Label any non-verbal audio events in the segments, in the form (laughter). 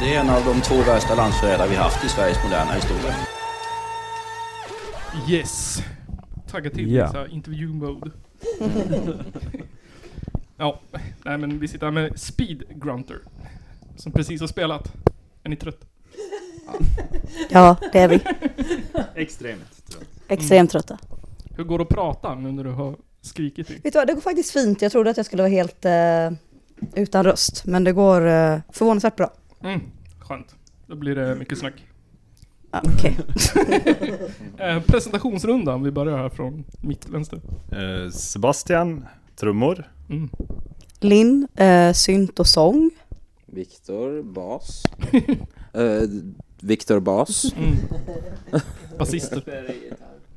Det är en av de två värsta landsförrädare vi haft i Sveriges moderna historia. Yes. Tagga till Ja. yeah. så intervju-mode. ja, nej men vi sitter här med Speed Grunter. Som precis har spelat. Är ni trött? Ja, det är vi. Extremt trött. Extremt trötta. Hur går det att prata nu när du har skrikit? i- Mm. Vet du vad, det går faktiskt fint. Jag trodde att jag skulle vara helt eh, utan röst, men det går eh, förvånansvärt bra. Mm, skönt. Då blir det mycket snack. Ja, Okej. Eh, presentationsrundan, vi börjar här från mitt vänster. Eh, Sebastian, trummor. Mm. Linn, eh, synt och sång. Viktor Bas. Eh, Viktor Bas. Mm. Basister.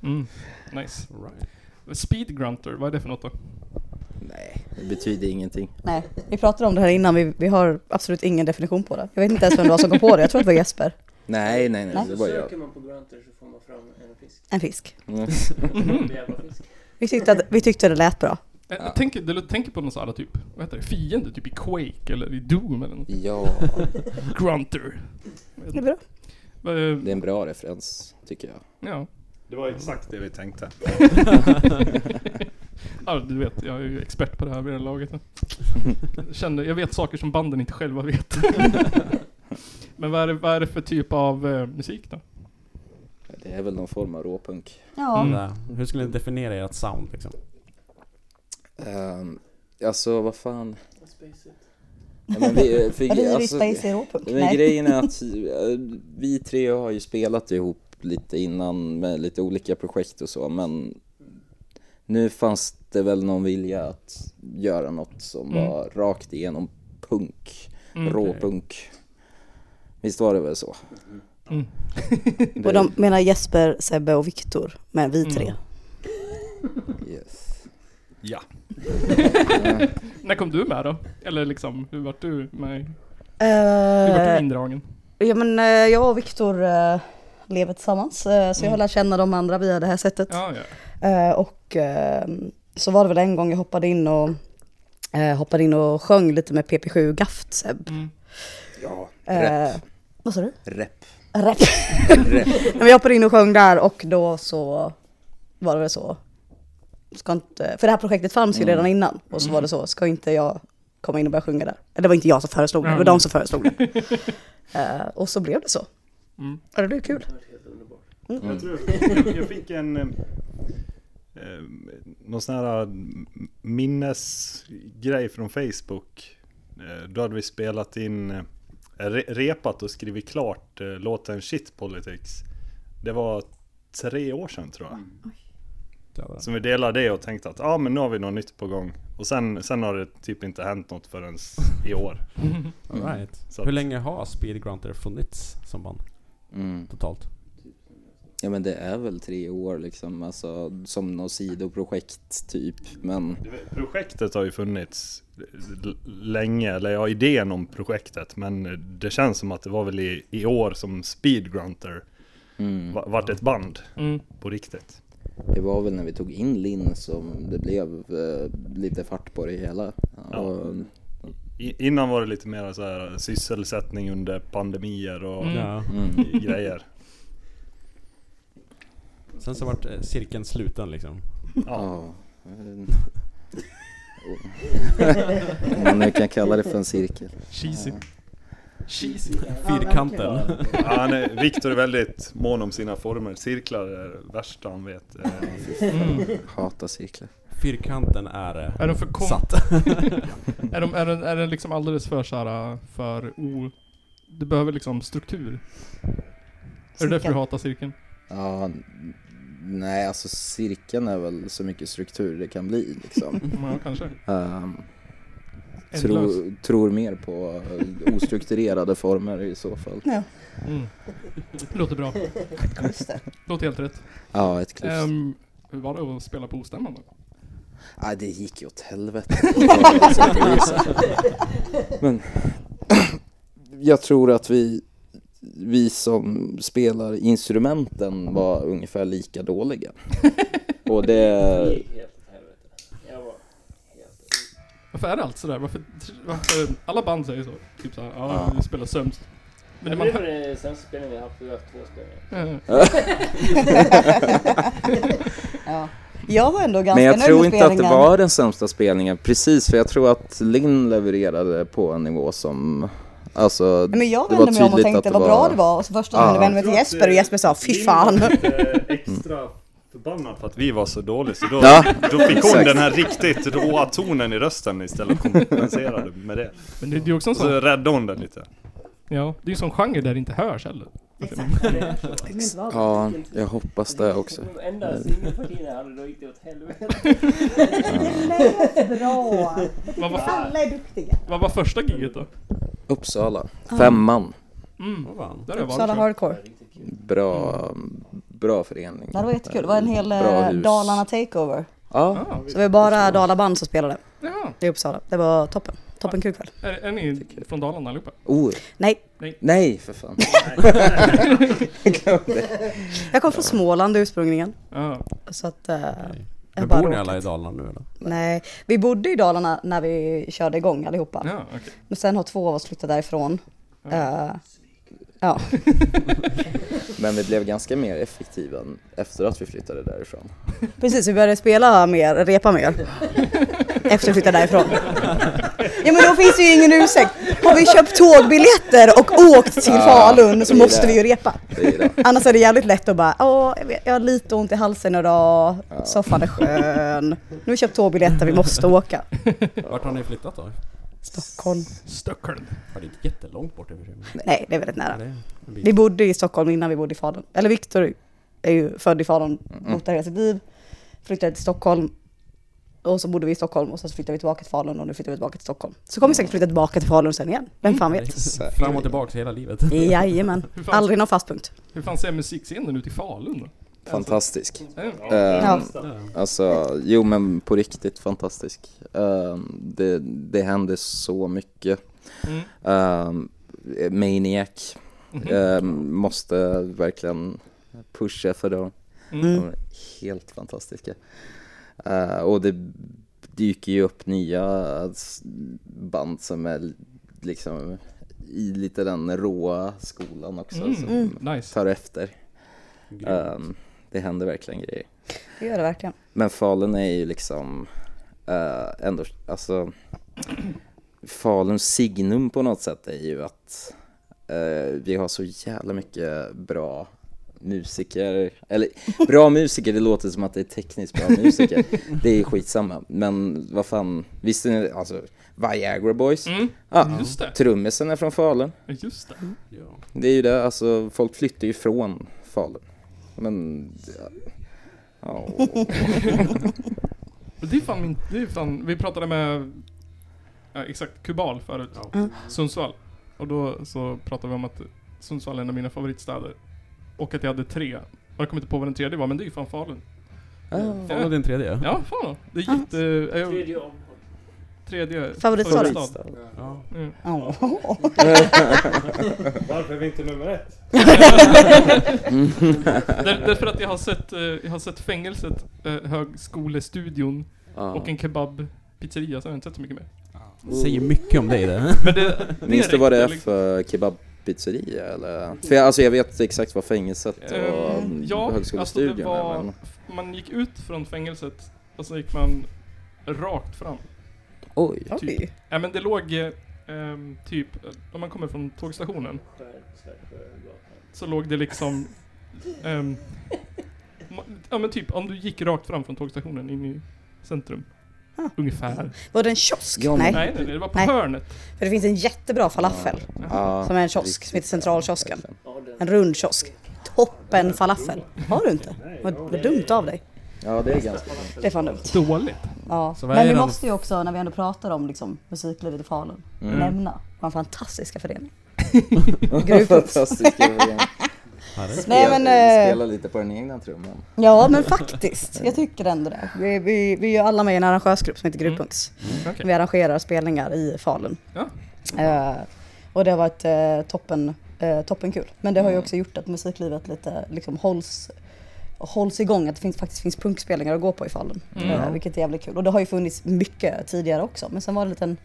Mm. Nice. Speed Grunter, vad är det för något då? Nej, det betyder ingenting. Nej, vi pratade om det här innan, vi, vi har absolut ingen definition på det. Jag vet inte ens vem det var som kom på det, jag tror att det var Jesper. Nej, nej, nej, Nej. det var jag. Söker man på grunter så får man fram en fisk. En fisk. Mm. En jävla fisk. Vi tyckte, att, vi tyckte det lät bra. Eh, Ja. Tänk, det låter- tänk på någon sån här typ, vad heter det, fiende? Typ i Quake eller i Doom eller något. (laughs) Ja, Grunter. Det är bra. Eh, det är en bra referens, tycker jag. Ja. Det var exakt det vi tänkte. ja, du vet, jag är ju expert på det här vid det (laughs) här laget. Jag, kände, jag vet saker som banden inte (laughs) själva vet. Men vad är, det, vad är det för typ av eh, musik då? Det är väl någon form av råpunk. Ja. Mm. Där. Hur skulle ni definiera ert sound liksom? Um, alltså, vad fan. Space it. (laughs) Ja, men vi, eh, för, Eller är vi alltså, Space Hero Punk? men Nej. grejen är att eh, vi tre har ju spelat ihop lite innan med lite olika projekt och så, men nu fanns det väl någon vilja att göra något som Mm. var rakt igenom punk. Mm. Råpunk. Visst var det väl så? Mm. Det- Och de menar Jesper, Sebbe och Viktor, men vi tre. Mm. Yes. Ja. När kom du med då? Eller liksom, hur vart du med? Hur vart du Eh, indragen? ja, men, eh, jag och Viktor eh, lever tillsammans, eh, så jag har lärt känna de andra via det här sättet. Mm. Ja, ja. Eh, och eh, så var det väl en gång jag hoppade in och eh, hoppade in och sjöng lite med PP7 Gaft Seb. Mm. Ja, Eh, rep, vad (laughs) sa du? rep, Rap. rep. Nej, men jag hoppade in och sjöng där och då så var det väl så. Ska inte, för det här projektet fanns Mm. ju redan innan och så var det så, ska inte jag komma in och börja sjunga där? Eller det var inte jag som föreslog det, det var de som föreslog det. (laughs) Eh, och så blev det så. Mm. Ja, det blev kul. Mm. Jag tror (laughs) jag, jag fick en... eh, Eh, någon sån här m- minnesgrej från Facebook. Eh, då hade vi spelat in, eh, re, repat och skrivit klart eh, låten Shit Politics. Det var tre år sedan tror jag. Mm. Jävlar. Som vi delade det och tänkte att ah, men nu har vi något nytt på gång. Och sen, sen har det typ inte hänt något förrän i år. All right. Mm. Så Hur att- länge har Speed Grunter funnits som band Mm. totalt? Ja men det är väl tre år liksom, alltså som något sidoprojekt typ. Men Projektet har ju funnits l- länge, eller ja, idén om projektet, men det känns som att det var väl i, i år som Speed Grunter mm, va- vart ett band Mm. på riktigt. det var väl när vi tog in Linn som det blev eh, lite fart på det hela. Ja. Och, I, innan var det lite mer så här sysselsättning under pandemier och Mm. Ja. mm, grejer. Sen så vart eh, cirkeln sluten liksom. Ja. ja. Mm. Om man nu kan kalla det för en cirkel. Cheesy. Cheesy. (laughs) Fyrkanten. Ja, han är- Viktor är väldigt mån om sina former, cirklar är det värsta han vet. Eh, Mm. Hata cirklar. (laughs) Fyrkanten är eh, Är de för kom- satt. Är de, är den, är den liksom alldeles för såhär, för o... Det behöver liksom struktur. Är det därför du hatar cirkeln? Ja, n- nej alltså cirkeln är väl så mycket struktur det kan bli (laughs) liksom. Ja, kanske. Ehm, Ändlös. Tror, tror mer på eh, ostrukturerade former i så fall. Mm. Låter bra. Låter helt rätt. Ja, ett klipp. Ehm, hur var det att spela på ostämman då? Nej, det gick ju åt helvete. på sätt och (laughs) vis, alltså. Men (clears throat) jag tror att vi, vi som spelar instrumenten var ungefär lika (laughs) dåliga. Och Det det... gick helt åt helvete. Jag var helt... Varför är det allt sådär? Varför, varför, alla band säger så. Typ såhär, ja, vi spelar sämst. Men när Men man det hör, var den sämsta spelningen vi har haft, vi har haft två spelningar. eh, ja. Jag var ändå ganska Men jag nöjd tror med inte att det spelningen. var den sämsta spelningen, precis, för jag tror att Linn levererade på en nivå som, alltså, Nej, Men jag Det var vände mig om och tydligt tänkte att det vad bra var- det var och så första Ja. gången vände jag mig till Jesper och Jesper sa fy fan. (laughs) extra förbannad för att vi var så dåliga så då, Ja, då fick hon exakt. den här riktigt råa tonen i rösten istället och kompenserade med det. men det, det är ju också en Och så sån, räddade hon den lite. ja, det är en sån genre där det inte hörs heller. ja, jag hoppas det också. Mm. De enda singelpartierna jag hade, då gick det åt helvete. Bra! Vad var, Alla är duktiga. vad var första giget då? Uppsala, femman, Mm, Vad fan. där är Uppsala Valsjö. Hardcore. bra, bra förening. Mm. Det var jättekul. Det var en hel eh, Bra hus. Dalarna Takeover. Ja, Ah, Så det var bara Dalaband som spelade ja. i Uppsala. Det var toppen. Toppen kul kväll. Är, är ni från Dalarna allihopa? oh, Nej, nej för fan. jag kom från Småland ursprungligen. Ja. Så att... eh, Men jag bara bor ni råkat- alla i Dalarna nu eller? Nej, vi bodde i Dalarna när vi körde igång allihopa. Ja, okej. Men sen har två av oss flyttat därifrån. Ja. Eh, ja. Men vi blev ganska mer effektiva än efter att vi flyttade därifrån. Precis, vi började spela mer, repa mer. Efter att flytta därifrån. Ja men då finns det ju ingen ursäkt. Har vi köpt tågbiljetter och åkt till Ja, Falun så det är måste det. vi ju repa. Det är det. Annars är det jävligt lätt att bara, åh jag vet, jag har lite ont i halsen idag, soffan är skön. Nu har vi köpt tågbiljetter, vi måste åka. Vart har ni flyttat då? Stockholm. Stockholm. Var det inte jättelångt bort i och för sig? Nej, det är väldigt nära. Det är en bit. Vi bodde i Stockholm innan vi bodde i Falun. Eller Viktor är ju född i Falun, Mm. bott där hela sitt liv, flyttade till Stockholm. Och så bodde vi i Stockholm och så flyttade vi tillbaka till Falun och nu flyttar vi tillbaka till Stockholm. Så kommer vi säkert flytta tillbaka till Falun sen igen. Vem fan vet? Fram och tillbaka hela livet. (laughs) Jajamän. Hur fan, Aldrig någon fast punkt. hur fan ser musikscenen ut i Falun då? Fantastisk. Eh, Ja. Ehm, Alltså, jo men på riktigt fantastisk. Ehm, det, det händer så mycket. Mm. Um, Maniac Mhm. ehm, måste verkligen pusha för dem. Mm. De är helt fantastiska. Eh, och det dyker ju upp nya s- band som är l- liksom i lite den råa skolan också Mm. som Nice. tar efter. Grymt. Ehm, det händer verkligen grejer. Det gör det verkligen. Men Falun är ju liksom eh, ändå, alltså Faluns signum på något sätt är ju att eh, vi har så jävla mycket bra musiker, eller bra musiker, det låter som att det är tekniskt bra musiker. Det är skitsamma, men vad fan, visste ni, alltså Viagra Boys, Mm. ah, Just det, trummisen är från Falun. just det. Ja. Det är ju det, alltså folk flyttar ju från Falun. Men, ja, Men Det är fan min, det är fan, vi pratade med, ja, exakt, Kubal förut. Ja. Sundsvall. Och då så pratade vi om att Sundsvall är en av mina favoritstäder. Och att jag hade tre. Och jag kommer inte på vad den tredje var, men det är ju fan Falun. ja. Fan, och din tredje? Ja, fan då. Det är jätte... Äh, Tredje omgången. tredje (laughs) Favoritstad. (laughs) Ja. Mm. Åh. Varför är vi inte nummer ett? Där, därför att jag har sett, eh, jag har sett fängelset, eh, högskolestudion Ja. och en kebabpizzeria, så har jag inte sett så mycket (laughs) mer. Säger mycket (laughs) om dig det. Men det, liksom. det Mm. Minns du vad det är riktigt- för kebabpizzeria eller? För jag, alltså jag vet exakt vad fängelset och mm, Ehm, ja, alltså högskolestudion det var... är men... Man gick ut från fängelset och så gick man rakt fram. Oj! typ. Oj. Ja, men det låg eh, ehm, typ, eh, om man kommer från tågstationen, Skär, skär, skär, så låg det liksom... ehm, ma- ja men typ, om du gick rakt fram från tågstationen in i centrum. Ah. Ungefär. Var det en kiosk? Ja, men- nej. Nej, nej, nej, det var på Nej. hörnet. För det finns en jättebra falafel. Ja, Som är en kiosk, riktigt som heter Centralkiosken. bra, verkligen. En rund kiosk. Toppen falafel. Har du inte? Vad, vad dumt av dig. Ja, det är ganska bra. Det är fan dumt. Dåligt. Ja, Så vad men är vi den- måste ju också när vi ändå pratar om liksom, musiklivet i Falun Mm. Mm. nämna vad fantastiska förening. Mm. (laughs) Gruvpuls. Fantastiskt kul. Herre. Nej men, eh, Spela lite på den egna trumman. ja men faktiskt, jag tycker ändå det. Vi, vi, vi är ju alla med i en arrangörsgrupp som heter Gruvpunks. Mm. Okej. Vi arrangerar spelningar i Falun. Ja. Eh, och det har varit eh, toppen, eh, toppen kul. Men det har ju Mm. också gjort att musiklivet lite liksom, hålls, hålls igång, att det finns, faktiskt finns punkspelningar att gå på i Falun. Mm. Eh, vilket är jävligt kul. Och det har ju funnits mycket tidigare också, men sen var det en liten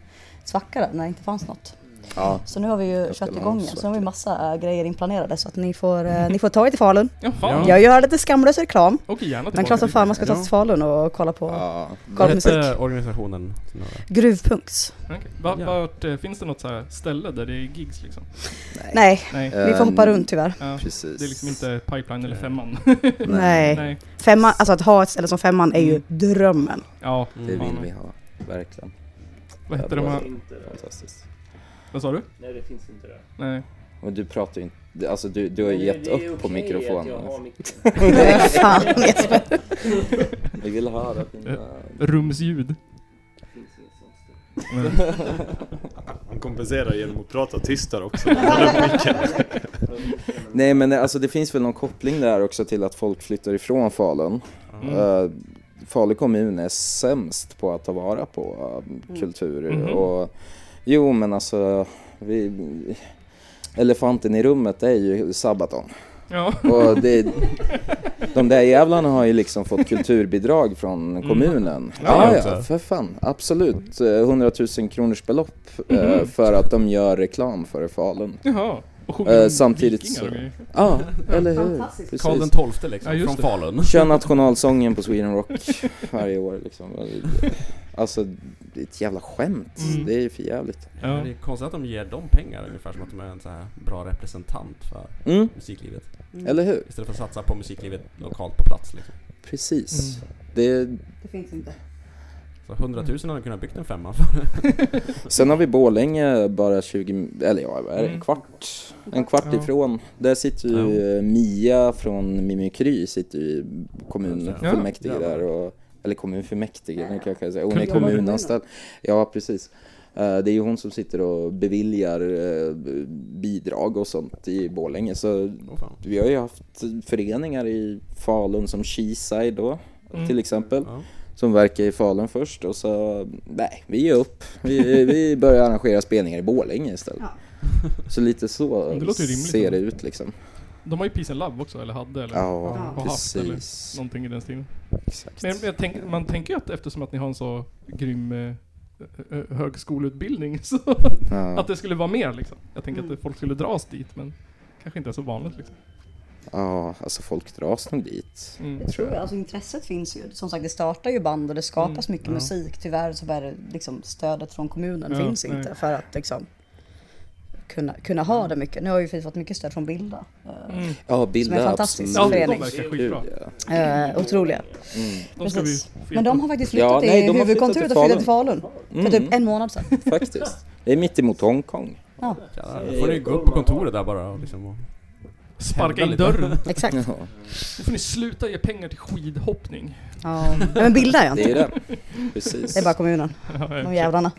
svacka där när det inte fanns något. Ja. Så nu har vi ju Jag kört spelar igång igen, svart. så nu har vi massa eh, grejer inplanerade så att ni får, eh, ni får ta er till Falun. Ja, fan. Jag gör lite skamlös reklam, Okej, gärna men tillbaka. klart som fan man ska ta sig till Falun och kolla på Ja. Kolla Vad på hette musik. organisationen? som var där? Gruvpunks. Okej. Va- Ja. Vart, eh, finns det något så här ställe där det är gigs liksom? Nej, Nej. vi får Ehm, hoppa runt tyvärr. Ja. Precis. Eh, Det är liksom inte Pipeline eller Femman. (laughs) Nej. Nej. Femman, alltså att ha ett ställe som femman är ju Mm. (laughs) drömmen. Ja, Det Mm. fan. vill vi ha. Verkligen. Vad heter de Det finns här? inte där. Fantastiskt. Vad sa du? Nej, det finns inte där. Nej. Men du pratar ju inte... Alltså du, du har Men ju gett det är upp på okej att jag har mikrofonen. (laughs) (laughs) mikrofonen. fan Jesper. Vi vill höra dina... Rumsljud. Det finns inget sånt ställe. Han kompenserar genom att prata tystare också. Nej men alltså det finns väl någon koppling där också till att folk flyttar ifrån Falun. Mm. Eh, Falu kommun är sämst på att ta vara på eh, kulturer Mhm. och jo men alltså vi, elefanten i rummet är ju Sabaton. Ja. Och det, de där jävlarna har ju liksom fått kulturbidrag från kommunen. Ja, Ja, också. ja, för fan. Absolut. Eh, 100 000 kronors belopp eh, för att de gör reklam för Falun. Jaha. Och Eh, sjunger om samtidigt vikingar så- och grejer. Ja, eller hur? Fantastiskt. Precis. Karl den tolfte liksom, Ja, just från det. Falun. Kör nationalsången på Sweden Rock varje år liksom. Alltså, det är ett jävla skämt. Mm. Det är ju för jävligt. Men Det Ja. är konstigt att de ger dem pengar ungefär som att de är en så här bra representant för Mm, musiklivet. eller hur? Istället för att satsa på musiklivet lokalt på plats liksom. Precis. Det, Det finns inte. Så 100 000 hade de kunnat byggt en femma (laughs) för. sen har vi Borlänge bara 20, eller ja, vad är det? Mm. en kvart? En kvart Ja. ifrån. Där sitter ju eh, Mia från Mimikry, sitter ju i kommunfullmäktige Ja. där. Och, eller kommunfullmäktige, nu kanske jag säger. Hon är Kultur- kommunanställd. Ja, precis. Eh, Det är ju hon som sitter och beviljar eh, b- bidrag och sånt i Borlänge. Så Åh fan. vi har ju haft föreningar i Falun som Skiside då Mm. till exempel Ja. som verkar i Falun först och så nej, vi ger upp. Vi, vi börjar arrangera spelningar i Borlänge istället. (laughs) Så lite så Det låter ju rimligt. ser det ut liksom. De har ju Peace and Love också, eller hade, eller Ja, har haft, eller precis. någonting i den stilen. Exakt. Men jag tänk, man tänker ju att eftersom att ni har en så grym eh, eh, högskoleutbildning (laughs) så Ja, att det skulle vara mer liksom. Jag tänker att folk skulle dras dit men kanske inte är så vanligt liksom. ja, alltså folk dras nog dit. Mm. Jag tror alltså intresset finns ju. Som sagt det startar ju band och det skapas mycket musik. Tyvärr så är det liksom stödet från kommunen Ja, finns nej. inte för att liksom kunna, kunna ha det mycket. Nu har ju vi fått mycket stöd från Bilda. Eh, Mm. Ja, bilda Som är fantastisk Ja, de förening. verkar skitbra. Ja. eh, otroliga. Mm. De ska vi Precis. feta. Men de har faktiskt flyttat Ja, nej, de har i flyttat huvudkontoret till och flyttat till Falun. För typ Mm, en månad sedan. faktiskt. Det är mitt emot Hongkong. Jävlar, Då får ni gå upp på kontoret där bara och liksom och... Sparka in Hävda dörren. Exakt. Ja, Då får ni sluta ge pengar till skidhoppning. Ja. Nej, Men Bilda är jag det är inte. ju det. (laughs) Precis. Det är bara kommunen. De jävlarna.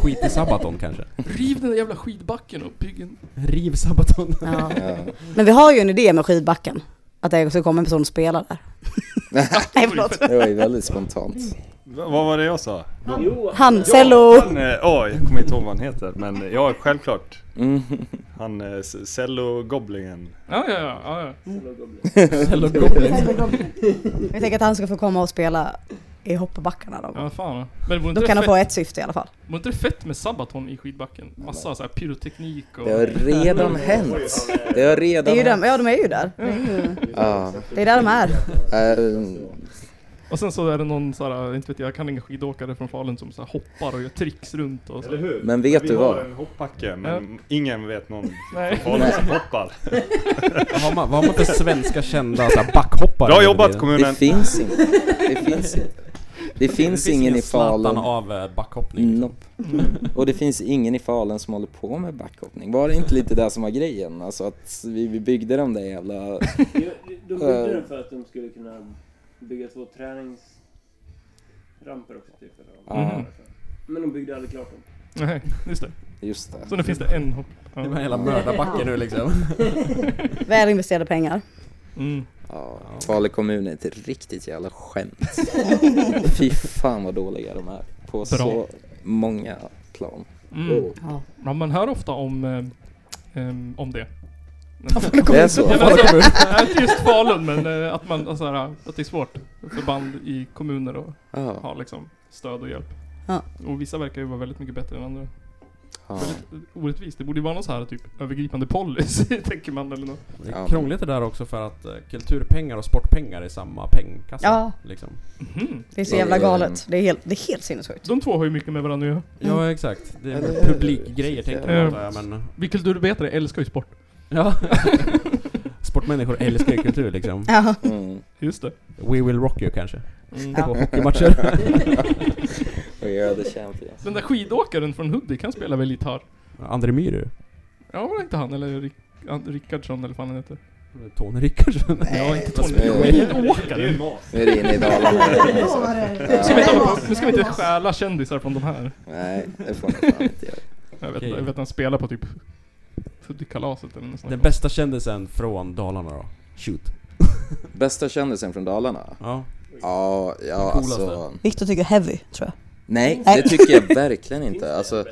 Skit i Sabaton kanske. Riv den där jävla skidbacken och bygg en... Riv Sabaton. Ja. Ja. Men vi har ju en idé med skidbacken. Att det ska komma en person och spela (laughs) där. Nej förlåt. Det var ju väldigt spontant. Vad var det jag sa? Jo, Han, cello. Han, eh, ja, jag kommer inte ihåg vad han heter, men eh, ja, självklart. Mm. Han eh, S- Cello-goblingen. Ja, ja, ja. ja, ja. Hello Goblin. Vi tänker att han ska få komma och spela i hoppbackarna någon gång. ja fan. Men vore Då inte, kan det han få fett, ett syfte i alla fall. vore inte det fett med Sabaton i skidbacken? Massa så här pyroteknik och... Det har redan hänt. Det har redan Det är ju hänt. dem, ja de är ju där. Ja. Det är där de är. Eh, Och sen så är det någon så här, inte vet jag, jag kan ingen skidåkare från Falun som så här hoppar och gör tricks runt och så. Eller hur? Men vet vi du har vad? en hoppbacke, men ingen (laughs) vet någon Nej. Falun som hoppar. Har man, har man inte svenska kända så här, backhoppare? Bra jobbat kommunen! Det finns inte. Det finns inte. Det finns ingen i Zlatan Falun. Mm. av eh, backhoppning. Nope. Och det finns ingen i Falun som håller på med backhoppning. Var det inte lite det som var grejen? Alltså att vi, vi byggde de där jävla... Jo, De Eh. byggde den för att de skulle kunna bygga två träningsramper också. Typ, eller vad Ah. de- Ja, Men de byggde aldrig klart dem. Mm. Nej, just det. just Så det. nu finns det en hopp... Det Ja. var hela mördarbacken nu liksom. Väl investerade pengar. Mm. Ja, Falu kommun är ett riktigt jävla skämt. Fy fan vad dåliga de är. På Bra. så många plan. Mm. Ja. Ja, man hör ofta om, eh, em, om det. Det är så. Ja, men alltså, nej, inte just Falun, men eh, att, man, alltså, här, att det är svårt för band i kommuner att Ja. ha liksom, stöd och hjälp. Ja. Och vissa verkar ju vara väldigt mycket bättre än andra. Ja. Väldigt orättvist. Det borde ju vara någon så här typ övergripande policy, (laughs) tänker man eller något. Det Ja. är krångligt det där också för att eh, kulturpengar och sportpengar är samma pengkassa. Ja. Liksom. Mhm. Det är så Ja, jävla det är- galet. Det är helt, det är helt sinnessjukt. De två har ju mycket med varandra att göra. Mm. Ja exakt. Det är Eller- publikgrejer tänker Ja. jag antar jag, men... Vi kulturarbetare älskar ju sport. Ja. (laughs) Sportmänniskor älskar ju kultur liksom. Ja. Mm. Just det. We will rock you kanske. Mm. Ja. På hockeymatcher. (laughs) We are the champions. (laughs) Den där skidåkaren från Hudik, han spelar väl gitarr? André Myhre. Ja, var det inte han? Eller Rick, han- Rickardsson eller vad han heter? Tony Rickardsson. Ja, inte Tony. spelar- Skidåkare! Nu är det inne i Dalarna. Nu ska vi inte, nu ska vi inte stjäla kändisar från de här. Nej, det får man fan inte göra. Jag vet, Okej. jag vet att han spelar på typ Hudikkalaset eller något sånt. Den bästa kändisen från Dalarna då? Shoot. Bästa kändisen från Dalarna? Ja. Ja, ja coolaste. alltså. Victor tycker heavy, tror jag. Nej, Nej. det tycker jag verkligen inte. Alltså,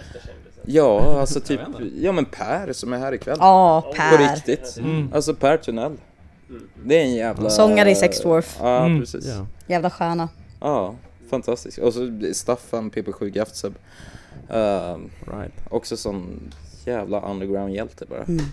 ja, alltså typ, Jag vet ja men Per som är här ikväll. Ja, På Per. riktigt. Mm. Alltså Per Tunnell. Det är en jävla... Sångare i Sexdwarf. Ja, Mm. precis. Ja, Ja. Jävla stjärna. fantastiskt. Och så Staffan PP7 Gaftseb. Ehm, Right. också sån jävla underground-hjälte bara. Mm.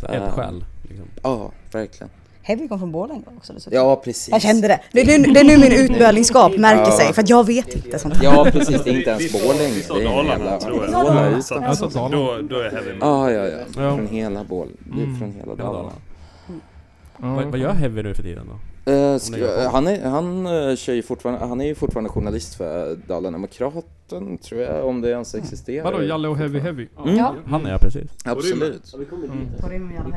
Så Ah. eldsjäl. Liksom. Ja, verkligen. Heavy kom från Borlänge också dessutom. Ja, precis. Jag kände det. Det är nu, det är nu min utbölingsskap märker sig, för att jag vet inte sånt här. Ja, precis. Det är inte Vi- vi ens sa- Borlänge. vi sa Det är en Dalarna, jävla- tror jag. Ja, just Så det. att- Alltså Dalarna. då, då är heavy Ja, metal. ja, ja. Ja. Från hela Borlänge. Det är från hela Hela Dalarna. Dalarna. Vad, vad gör Mm. Heavy nu för tiden då? Mm. Eh, ska, Om det går på. han, är, han, eh, kör ju fortfarande, han är ju fortfarande journalist för Dalademokraten tror jag, om det ens existerar. Vadå, Jalle och Heavy Heavy? Mm, Ja. Han är jag precis. Absolut. Ja, vi kommer dit. alltså.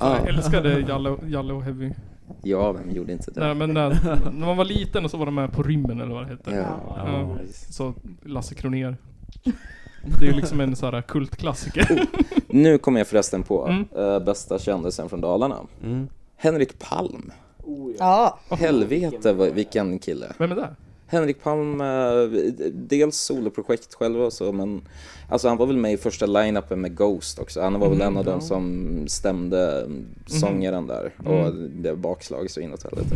Ja, Jag älskade Jalle, och- Jalle och Heavy. ja, vem gjorde inte det? Nej, men när, när man var liten och så var de med på rymmen eller vad det hette. Ja. Ja. Ja. Så Lasse Kronér. Det är ju liksom en sån här kultklassiker. Nu kom jag förresten på Mm. eh, bästa kändisen från Dalarna. Mm. Henrik Palm. Oh, ja. Ja, Helvete vad- vilken kille. Vem är det? Henrik Palm, eh, dels soloprojekt själv och så, men alltså han var väl med i första line-upen med Ghost också. Han var väl en av de som stämde sångaren där och det bakslag så inåt helvete.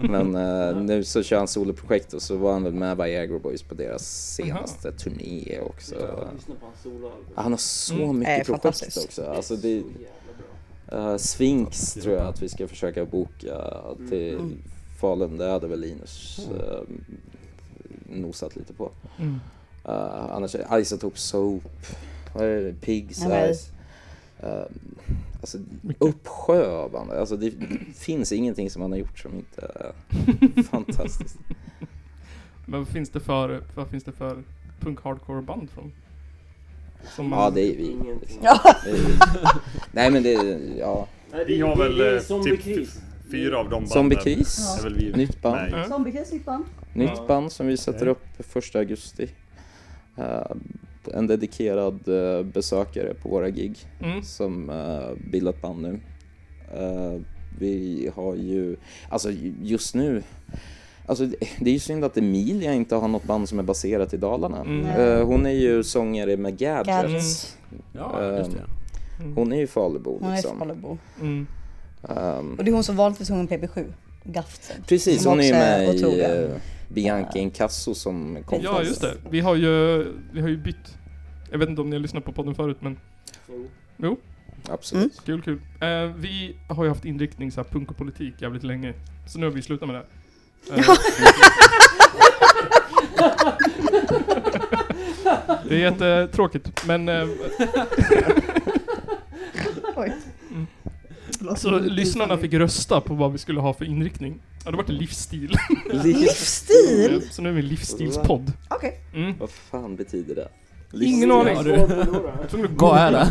men eh, nu så kör han soloprojekt och så var han väl med Viagra Boys på deras senaste turné också. Lyssna på hans soloalbum. Han har så Mm. mycket Eh, projekt fantastiskt. också. Ah, Alltså det, Så jävla bra. eh, Sphinx tror jag att vi ska försöka boka till Falun. Det hade väl Linus eh, nosat lite på. Mm. (laughs) Uh, annars är Isotope Soap, uh, Pigs Ja, men- Eyes. Uh, alltså, uppsjö av andra. Alltså det finns ingenting som han har gjort som inte är fantastiskt. Men vad finns det för, vad finns det för punk hardcore band från? Som Ja, det är vi. Ingenting. Det är vi. Nej men det är, ja. Nej, det- Vi har det- väl det är eh, Zombie typ Kris. fyra av de banden. Zombiekris, Är väl vi Nytt band. med i. Ja. Zombiekris, nytt band. nytt band som vi sätter upp 1 augusti. Uh, en dedikerad eh, besökare på våra gig. Mm. som eh, bildat band nu. Eh, vi har ju, alltså ju- just nu, alltså det- det är ju synd att Emilia inte har något band som är baserat i Dalarna. Mm. Eh, hon är ju sångare med Gadgets. Gadgets. Ja, just det. Hon är ju Falubo Hon är liksom. Falubo. Mm. Ehm, Och det är hon som vanligtvis sjunger PP7. Gafsen. precis, Som hon är ju också är med i otrolig. eh, Bianca Inkasso som kom Ja, just det. Vi har ju, vi har ju bytt. Jag vet inte om ni har lyssnat på podden förut, men Jo. Absolut. kul, kul. Eh, vi har ju haft inriktning så här punk och politik jävligt länge. Så nu har vi slutat med det. Eh, (laughs) det är jättetråkigt, men eh, eh, Oj. så lyssnarna fick rösta på vad vi skulle ha för inriktning. Ja, det vart livsstil. (laughs) Mm. Livsstil? så nu är vi en livsstilspodd. Okej. Mm. Vad fan betyder det? Liksom Ingen aning. Två förlorare. Jag tror att Vad är det?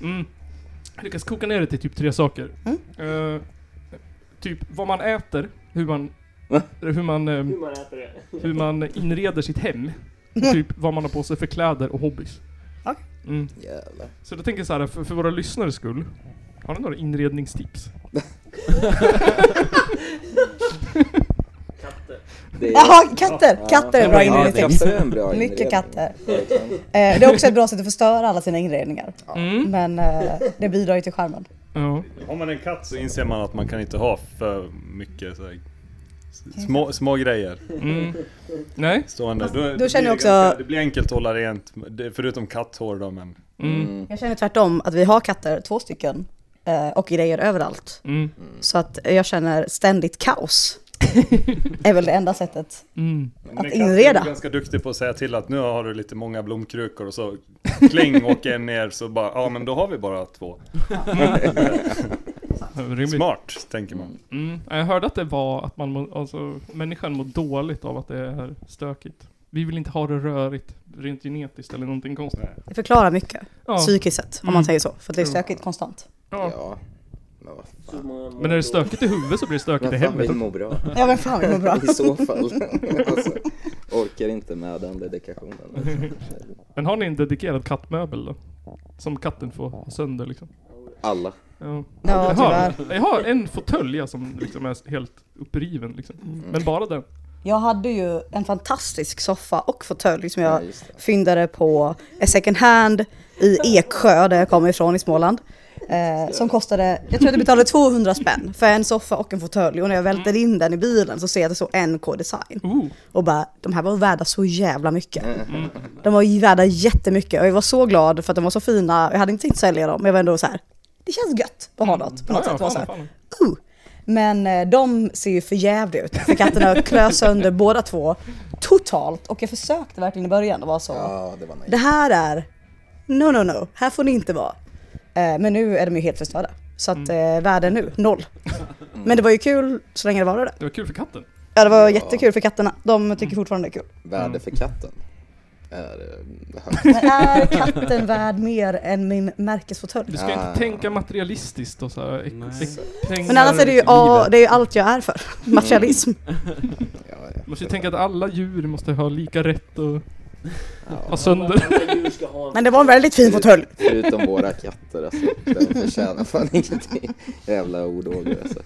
Mm. Jag lyckas koka ner det till typ tre saker. Eh, typ vad man äter, hur man, Va? hur, man, eh, Hur man äter det. hur man inreder sitt hem. Och typ vad man har på sig för kläder och hobbys. Ja. Mm. Jävlar. Så då tänker jag så här, för, för våra lyssnares skull. Har ni några inredningstips? Katter. Det är- Jaha, katter! Katter är bra Ja, inredning. Katter är en bra Mycket inredning. liksom. katter. Verkligen. Eh, Det är också ett bra sätt att förstöra alla sina inredningar. Mm. Men eh, det bidrar ju till charmen. Ja. Har man en katt så inser man att man kan inte ha för mycket så här, Små, små grejer Mm. Nej? stående. Då, det då känner blir jag också- ganska- det blir enkelt att hålla rent, det- förutom katthår då men. Mm. Jag känner tvärtom att vi har katter, två stycken, eh, och grejer överallt. Mm. Så att jag känner ständigt kaos. är väl det enda sättet. Mm. Men Att katten är inreda. ganska duktig på att säga till att nu har du lite många blomkrukor och så (laughs) kling åker en ner så bara, ja men då har vi bara två. Rimligt. Smart, tänker man. Mm. Jag hörde att det var att man må, alltså, människan mår dåligt av att det är stökigt. Vi vill inte ha det rörigt, rent genetiskt eller någonting konstigt. Det förklarar mycket, Ja. psykiskt sett, om man Mm. säger så. För att det är Jo. stökigt konstant. Ja. Men vad Så många Men är det stökigt i huvudet så blir det stökigt i Men fan vill helvetet. må bra Ja men fan, det (laughs) går bra. i så fall. Alltså, orkar inte med den dedikationen. liksom. Men har ni en dedikerad kattmöbel då? Som katten får ha sönder liksom? Alla. Ja, Ja, jag, har, jag har en fåtölj ja, som liksom är helt uppriven liksom. Mm. Men bara den. Jag hade ju en fantastisk soffa och fåtölj som Ja, jag just det. fyndade på en second hand i Eksjö, där jag kommer ifrån i Småland. Eh, som kostade, jag tror att jag betalade 200 spänn för en soffa och en fåtölj. Och när jag välter in den i bilen så ser jag att det står NK Design. Oh, Och bara, de här var värda så jävla mycket. De var ju värda jättemycket och jag var så glad för att de var så fina. Jag hade inte tänkt sälja dem, men jag var ändå så här. det känns gött att ha något på något sätt. Det var så här, fan. uh. Men eh, de ser ju för jävliga ut, för katterna (laughs) klös sönder båda två totalt. Och jag försökte verkligen i början och var så, Ja, det var nice. det här är, no no no, här får ni inte vara. Eh, Men nu är de ju helt förstörda. Så att eh, värden nu, noll. Men det var ju kul så länge det var det. Det var kul för katten. Ja det var jättekul för katterna, de tycker fortfarande det är kul. Värde för katten är eh, högt. Men är katten värd mer än min märkesfåtölj? Du ska Ah. inte tänka materialistiskt och så här. ek- Nej. ek- pengar Men annars är det ju, till ja, livet. det är ju allt jag är för. Materialism. Ja, ja. Man måste ju tänka att alla djur måste ha lika rätt och ha Ja. sönder. Alla djur ska ha en... Men det var en väldigt fin fåtölj. Förutom våra katter alltså. De förtjänar fan ingenting. Jävla ordåger alltså.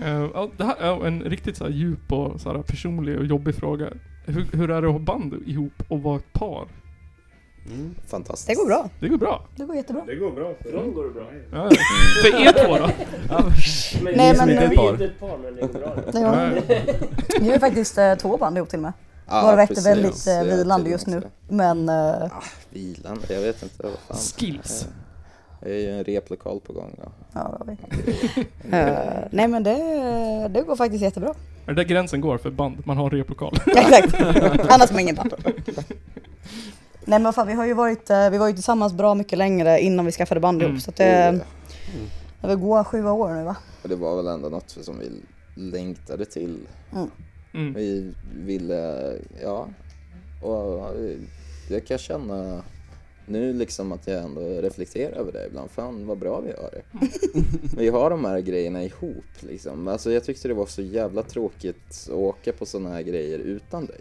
Eh, ja, det här är en riktigt så här djup och så här personlig och jobbig fråga. Hur, hur är det att ha band ihop och vara ett par? Mm. Fantastiskt. Det går bra. Det går bra. Det går jättebra. Det går bra för Dem går det bra. Ja. För er två då? Men Nej, vi men- är Ett par. inte ett par, men det går bra. Det var, vi har ju faktiskt eh, två band ihop till och med. Ja, Varav ett är precis. väldigt eh, Ja, vilande tydligen just nu. också. Men eh, Ah, vilande? Jag vet inte. Vad fan. Skills. Jag är ju en replokal på gång då. ja, det har vi. Eh, nej men det, det går faktiskt jättebra. Är det där gränsen går för band? Man har replokal. Exakt. Annars har man ingen band. Nej men fan, vi har ju varit, eh, vi var ju tillsammans bra mycket längre innan vi skaffade band ihop. Mm. Så att det, Och det vill gå sju år nu va? det var väl ändå något som vi längtade till. Mm. Vi ville, ja. Och eh, jag kan känna nu liksom att jag ändå reflekterar över det ibland. Fan vad bra vi har (laughs) det. vi har de här grejerna ihop liksom. Alltså jag tyckte det var så jävla tråkigt att åka på sådana här grejer utan (laughs) dig.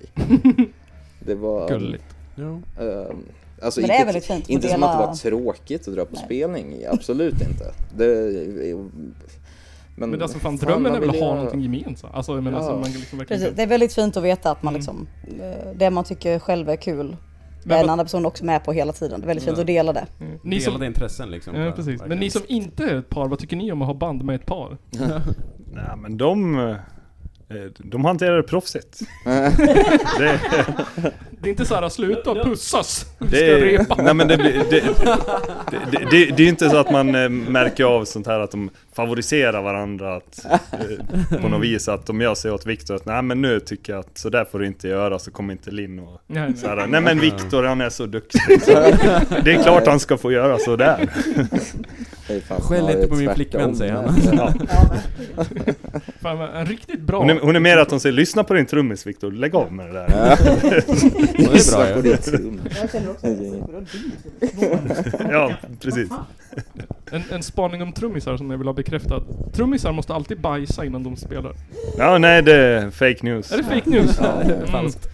Det var... Gulligt. Jo. Ehm, alltså Men inte, det är väldigt fint att Inte som dela- att det var tråkigt att dra på Nej. spelning, absolut inte. Det, men, Men alltså fan, fan, drömmen man är väl att vill ha göra- någonting gemensamt? Alltså jag menar Ja. så man liksom verkligen Precis, kan- det är väldigt fint att veta att man liksom, eh, det man tycker själv är kul Mm. Men är vad- den andra personen också med på hela tiden. Det är väldigt fint att dela det. Mm. Ni Delade som, intressen liksom. ja, där, precis. Men verkligen. ni som inte är ett par, vad tycker ni om att ha band med ett par? Nej men de, eh, de hanterar det proffsigt. det, Det är inte såhär, sluta och pussas! Vi det, ska repa! nej, men det, blir- det, det, det, det, det är ju inte så att man eh, märker av sånt här att de favoriserar varandra att, eh, på något vis. Att om jag säger åt Viktor att nej men nu tycker jag att så där får du inte göra så kommer inte Linn och Nej, så nej. här, nej men Viktor han är så duktig. (laughs) Så, det är klart han ska få göra så där. det är fan Skäll inte snarare på min tvärtom. flickvän, säger han. (laughs) Ja. Fan, vad- en riktigt bra... Hon, är, hon är mer att de säger lyssna på din trummis Viktor, lägg av med det där. Ja, det är bra På ja. ditt rum. Ja, precis. en, en spaning om trummisar som jag vill ha bekräftad. Trummisar måste alltid bajsa innan de spelar. Ja, nej det är fake news. Är det fake news? Mm. Falskt.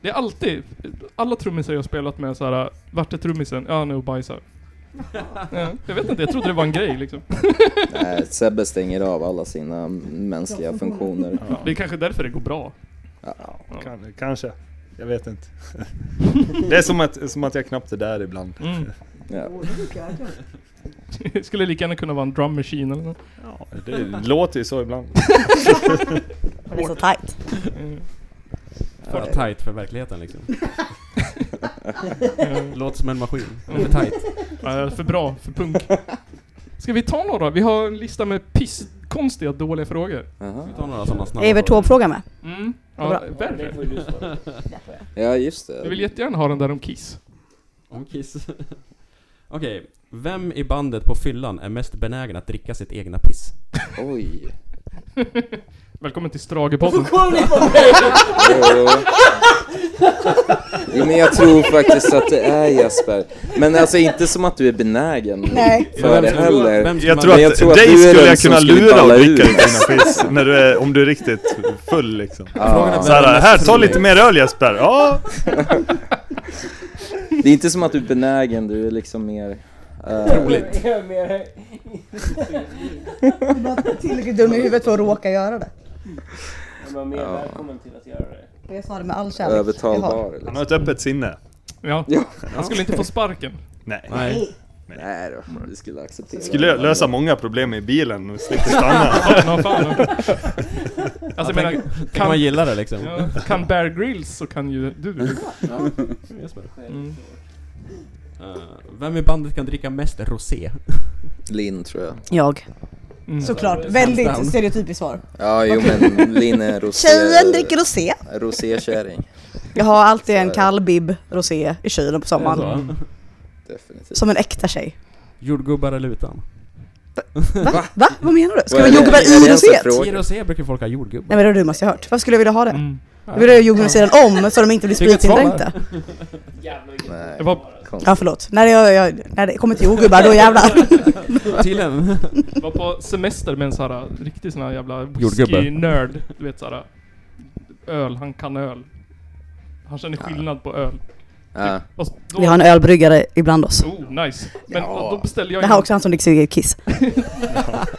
Det är alltid, alla trummisar jag har spelat med så här. vart är trummisen? Ja, nu bajsar. Ja, jag vet inte, jag trodde det var en grej liksom. Nej, Sebbe stänger av alla sina mänskliga funktioner. Det är kanske därför det går bra. Kan, kanske. Jag vet inte. Det är som att, som att jag knappt är där ibland. Mm. (laughs) Ja. Det skulle lika gärna kunna vara en drum machine eller något. Ja, det låter ju så ibland. Det är så tight. Mm. För tight för verkligheten liksom. Eh, Låter som en maskin. För tight. eh, för bra, för punk. Ska vi ta några? Vi har en lista med pisskonstiga dåliga frågor. Jaha. Vi tar några sådana snabba. Evert Taube-fråga med. Mm. Ja, Bra. Ja, det verkligen. får ju du svara på. Ja, just Jag vill det. jättegärna ha den där om Kiss. Om Kiss. (laughs) Okej, vem i bandet på fyllan är mest benägen att dricka sitt egna piss? Oj. Välkommen till Stragepodden. Jo. Jo, men jag tror faktiskt att det är Jesper. Men alltså inte som att du är benägen Nej. för det Vem skulle- heller. vem (laughs) skulle Jag man- tror att, Men jag tror att dig du är skulle den jag som kunna skulle lura och balla dricka ur. dina piss när du är, om du är riktigt full liksom. Ja. Så här, här, ta lite mer öl Jesper! Ja! Det är inte som att du är benägen, du är liksom mer... eh, (laughs) Jag är mer- Du var tillräckligt dum i huvudet för att råka göra det. jag var mer välkommen till att göra det. Jag sa det med all kärlek. eh, övertalbar. Han Liksom. har ett öppet sinne. Ja. Ja. Han skulle inte få sparken. Nej. Nej. Nej då, vi skulle acceptera. Skulle jag lösa många problem i bilen och (laughs) slippa stanna. Ja, (laughs) fan. Alltså jag menar, Kan man kan, gilla det liksom? ja, kan Bear Grylls så kan ju du. Jesper. Mm. Eh, vem i bandet kan dricka mest rosé? Linn tror jag. Jag. Mm. Såklart. Hands down. Väldigt stereotypiskt svar. Ja, jo men Linn är rosé... Tjejen dricker rosé. Rosékärring. Jag har alltid en Så- kall bib rosé i kylen på Är sommaren. det så? (laughs) Definitivt. Som en äkta tjej. Jordgubbar eller utan? Va? Va? Vad menar du? Ska vi Vad ha är det? jordgubbar Är det i ens en roséet? fråga? I rosé brukar folk ha jordgubbar. (laughs) Nej men det har du måste ha hört. Varför skulle jag vilja ha det? Mm. Jag vill ha jordgubbar i sidan om så de inte blir Vilket svar? spritsindränkta. Jävlar vilket Nej, Det var, konstigt. Ja förlåt. När, jag, jag, när det kommer till jordgubbar (laughs) då jävlar. Till en. (laughs) var på semester med en sån här riktig sån här jävla Jordgubbe. whisky-nörd. Du vet såhär. Öl, han kan öl. Han känner skillnad på öl. Ja. Och så- då, Vi har en ölbryggare ibland oss. Oh, nice. Men Ja. då beställde jag Det här är in, också han som dricker sitt eget kiss.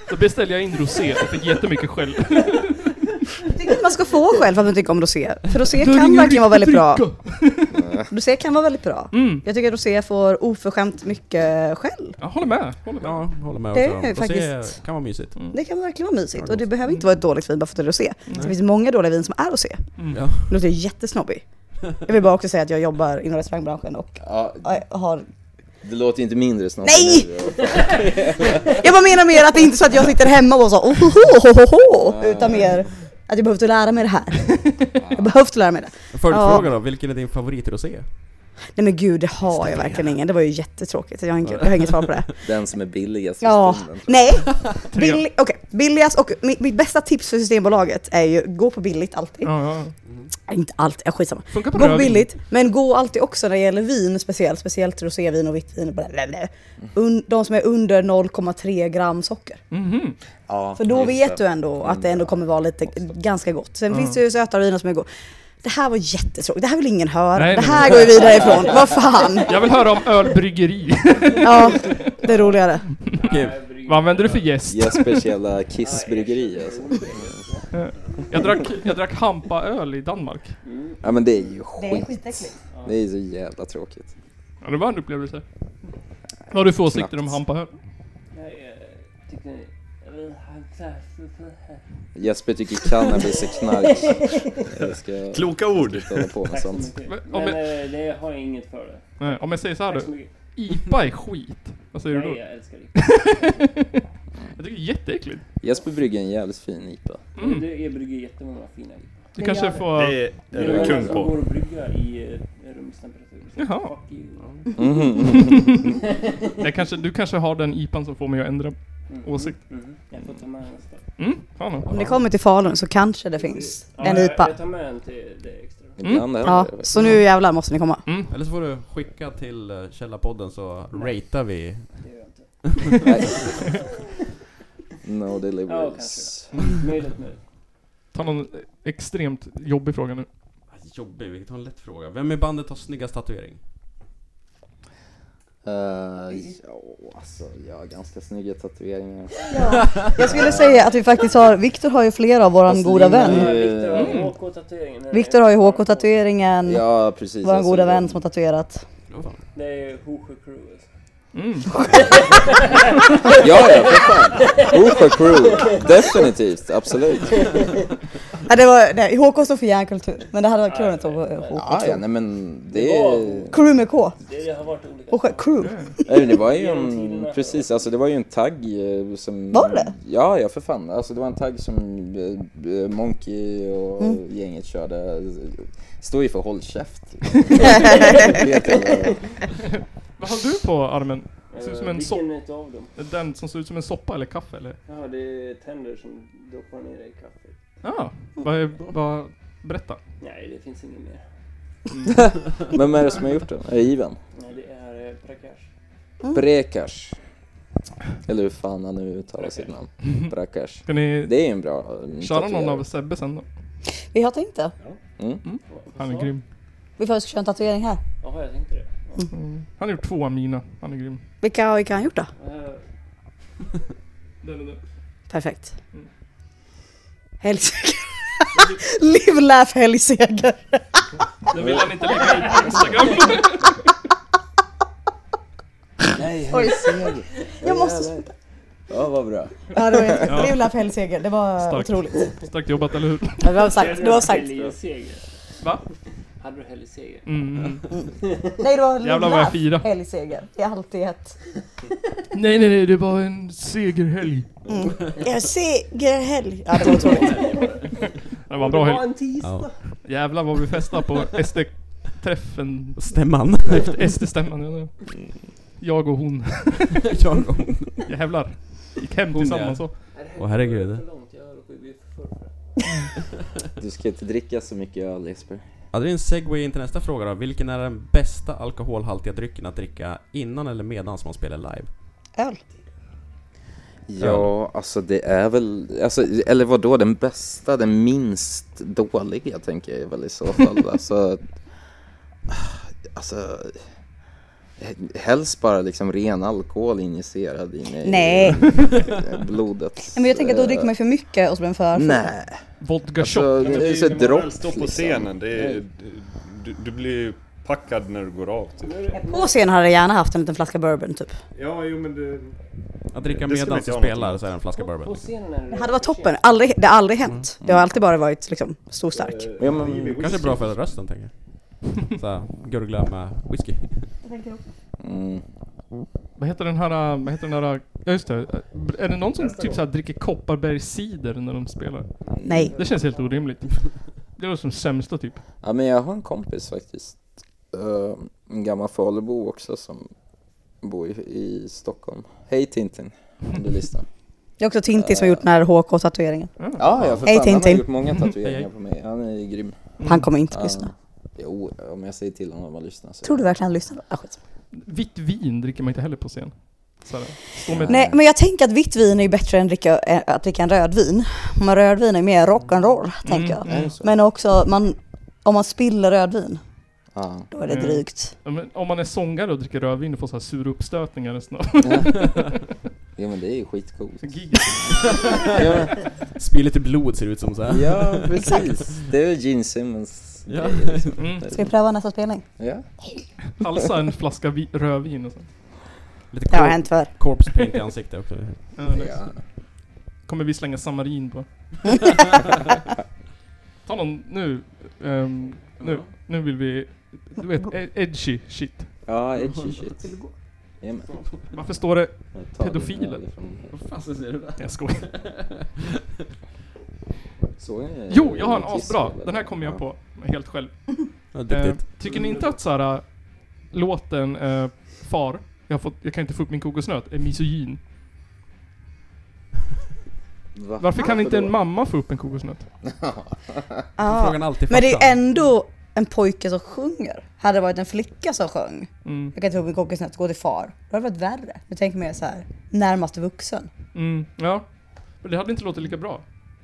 då beställde jag in rosé och fick jättemycket skäll. Jag tycker inte man ska få själv för att man tycker om rosé. För rosé kan verkligen vara väldigt bra. Rosé kan vara väldigt bra. Mm. Jag tycker att rosé får oförskämt mycket skäll. Jag håller med. Håller med. Ja, håller med Det också. är Rosé faktiskt- kan vara mysigt. Det kan verkligen vara mysigt och det gott. Mm. behöver inte vara ett dåligt vin bara för att det är rosé. Det finns många dåliga vin som är rosé. Mm. Ja. Nu låter jag jättesnobbig. Jag vill bara också säga att jag jobbar inom restaurangbranschen och Ja, jag har... det låter inte mindre snart. Nej! Jag bara menar mer att det är inte så att jag sitter hemma och så ohohohoho utan mer att jag behövt lära mig det här. Jag behövt lära mig det. Följdfråga då, vilken är din favoritrosé? Nej men gud, det har jag verkligen ingen. Det var ju jättetråkigt. Jag har inget, jag har inget svar på det. Den som är billigast för Ja, stunden. nej. (laughs) Bill, okay. Billigast och mi- mitt bästa tips för Systembolaget är ju gå på billigt alltid. Ja, ja. Inte alltid, ja, skitsamma. Funkar på Gå på rödvin. billigt, men gå alltid också när det gäller vin speciellt, speciellt rosévin och vitt vin. Bla bla bla. Un, de som är under 0,3 gram socker. Mhm. Ja, För då just vet det. Mm. du ändå att det ändå kommer vara lite, ganska gott. Sen finns det ju sötare viner som är goda. Det här var jättetråkigt, det här vill ingen höra. Nej, det nej, här nej. går vi vidare ifrån. (laughs) Vad fan! Jag vill höra om ölbryggeri. Ja, det är roligare. Vad använder du för jäst? Jespers jävla kissbryggeri alltså. Jag drack, jag drack hampaöl i Danmark. Ja men det är ju skit. skitäckligt. Det är så jävla tråkigt. Ja, det var en upplevelse. Vad har du för åsikter om hampaöl? Nej, jag tyckte... jag vet inte, han så här- så här- Jesper tycker cannabis är (laughs) knark. Jag ska Kloka ord! inte hålla på med Tack så sånt. mycket. Men- om Men jag- eh, det har jag inget för det. Nej, om jag säger så här Tack så då. mycket. IPA är skit. Vad säger du Nej, då? jag älskar dig. Jag tycker det är jätteäckligt. Jesper brygger en jävligt fin IPA. Mm. Du är brygger jättemånga fina viner. Du kanske får... Det är Det du är kung som går på. att brygga i eh, rumstemperatur. Så Jaha. Mm. fuck you. Mm. Mm. (laughs) Jag kanske, du kanske har den IPAn som får mig att ändra Mhm. åsikt. Mhm. Jag får ta med en nästa. Mm, fan Om då. ni kommer till Falun så kanske det finns Ja, en jag- IPA. Jag tar med en till det extra. Ibland händer Ja, det faktiskt. så nu jävlar måste ni komma. Mm. Eller så får du skicka till eh, Källarpodden så ratear vi. Det gör jag inte. Nej. No Ja, deliveries. kanske. Möjligt, möjligt. Ta någon extremt jobbig fråga nu. Ah, Jobbig, vi tar en lätt fråga. Vem i bandet har snyggast tatuering? Mm. Eh, ja, alltså jag har ganska snygga tatueringar. Jag skulle säga att vi faktiskt har, Viktor har ju flera av våran Alltså, goda det är- vän. Ja, Viktor har Mm. HK-tatueringen. Viktor har ju HK-tatueringen, Ja precis. våran alltså, goda vän som har tatuerat. Vad fan? Det är Hosjö Crew. alltså. Mm. Ja, ja, för fan. Hooper crew, definitivt, absolut. Nej, det var, nej, HK står för järnkultur, men det hade varit kul att ta på eh, HK. Ja, ja, nej men det... Crew med K. Det har varit olika. Och själv- crew. Nej, det var ju en, precis, alltså det var ju en tagg eh, som... Var det? Ja, ja för fan. Alltså det var en tagg som eh, eh, Monkey och Mm. gänget körde. Står ju för håll (laughs) käft. (laughs) Vet jag vad- Vad har du på armen? Det ser ut som en Eh, Vilken utav dem? Den som ser ut som en soppa eller kaffe eller? Ja, det är tänder som droppar ner i kaffet. Ja, vad är, vad, berätta. Nej, det finns inget mer. Vem är det som har gjort den? Är det Ivan? Nej, det är eh, Prakash. Mm. Brekars. Eller hur fan han nu uttalar sitt namn. Brekars. Ska ni Det är ju en bra... eh, köra någon tatuering. av Sebbe sen då? (laughs) Vi har tänkt det. Han är grym. Vi får köra en tatuering här. Jaha, jag tänkte det. Mm. Han har gjort två av mina. Han är grym. Vilka har han gjort då? Eh, Den är den. Perfekt. Mm. (laughs) Helgseger. Live, laugh, helgseger. Den vill han inte lägga ut på Instagram. Nej, Oj. jag ser. Jag måste... Ja, vad bra. Ja, det var jätte- Ja. Live, laugh, helgseger. Det var Starkt. otroligt. Starkt jobbat, eller hur? Ja, Det var sagt. Det var sagt. Helgseger. Va? Hade du helgseger? Mm. Nej, det var (laughs) live, Jävlar vad jag laugh, firar. helgseger. I allt i ett. Nej, nej, nej, det var en segerhelg. Mm. Jag seger, helg. Ja, det var otroligt. Det var en bra Det var helg. en tisdag. Ja. Jävlar vad vi festade (laughs) på SD-träffen. (laughs) Stämman. Efter SD-stämman. ja, ja. Jag och hon. Jag och hon. Jävlar. Gick hem Hon, tillsammans ja. så. Åh, herregud. Det var för långt, jag råkade bli förförd. Du ska inte dricka så mycket öl, Jesper. Ja, det är en segway in till nästa fråga då. Vilken är den bästa alkoholhaltiga drycken att dricka innan eller medan man spelar live? Öl. Ja, alltså det är väl, alltså, eller vad då den bästa, den minst dåliga tänker jag väl i så fall. alltså, alltså, helst bara liksom ren alkohol injicerad in i Nej. (laughs) blodet. eh, Nej, Men jag tänker att då dricker man ju för mycket och så blir man för full. Nej, Vodka shot. alltså, det är ju så När man väl dropp liksom. står på scenen, det är, du, du blir ju packad när du går av. Typ. På scen hade jag gärna haft en liten flaska bourbon typ. Ja, jo men det... Det Att dricka skulle medan inte man jag ha spelar någonting. så är det en flaska På bourbon. scenen är Det hade varit toppen. Aldrig, det har aldrig hänt. Det har alltid bara varit liksom stor stark. Ja, men, Kanske bra för rösten tänker jag. Såhär, gurgla med whisky. mm, Vad heter den här, äh, vad heter den här, äh, ja just det. Äh, Är det någon som typ såhär dricker Kopparbergs cider när de spelar? Nej. Det känns helt (laughs) orimligt. Det låter som sämsta typ. ja, men jag har en kompis faktiskt, eh, en gammal Falubo också som bor i, i Stockholm. Hej Tintin, om du lyssnar. Det är också Tintin som har gjort den här HK-tatueringen. Ja, ja för Hej, fan. Han har Tintin. gjort många Hej, tatueringar hej. på mig. Han är ju grym. Han kommer inte Ja. lyssna. Jo, om jag säger till honom att lyssna så... Tror du verkligen han lyssnar? Ah, skit. Vitt vin dricker man inte heller på scen. Så här, stå med Nej, men jag tänker att vitt vin är ju bättre än dricka, ä, att dricka en rödvin. Men rödvin är mer rock'n'roll, tänker jag. Är det så? Men också, man, om man spiller rödvin, (laughs) Ja. då är det Mm. drygt. Ja, men om man är sångare och dricker rödvin och får så här sura uppstötningar nästan. Jo men det är ju skitcoolt. Gig. ja, Spill lite blod ser det ut som såhär. men- ja, precis. Det är ju Gene Simmons Ja. grej, liksom. Mm. Ska vi pröva nästa spelning? Ja. Halsa en flaska vi- rödvin och sånt. Lite Det har cor- hänt förr. corpse paint i ansiktet också. Ja, nice. ja. Kommer vi slänga samarin på. Ta någon nu. ehm, nu, nu vill vi... Du vet, e- edgy shit. Ja, edgy shit. Jajamän. Varför står det... Jag tar Pedofiler. den här ifrån- fasen ser du där? Jag skojar. Såg ni- Jo, jag har en Kiss, asbra. eller? Den här kommer jag Ja. på helt själv. Ja, Eh, duktigt. tycker ni inte att så här, äh, låten eh, Far, jag, har fått, jag kan inte få upp min kokosnöt, är misogyn? Va? Varför kan inte då? en mamma få upp en kokosnöt? Ja. Frågan alltid Men det är ju farsan. ändå en pojke som sjunger. Hade det varit en flicka som sjöng, Mm. jag kan ta upp min kokosnöt, gå till far, då hade det varit värre. Jag tänker mer så här, närmast vuxen. Mm, ja. Men det hade inte låtit lika bra.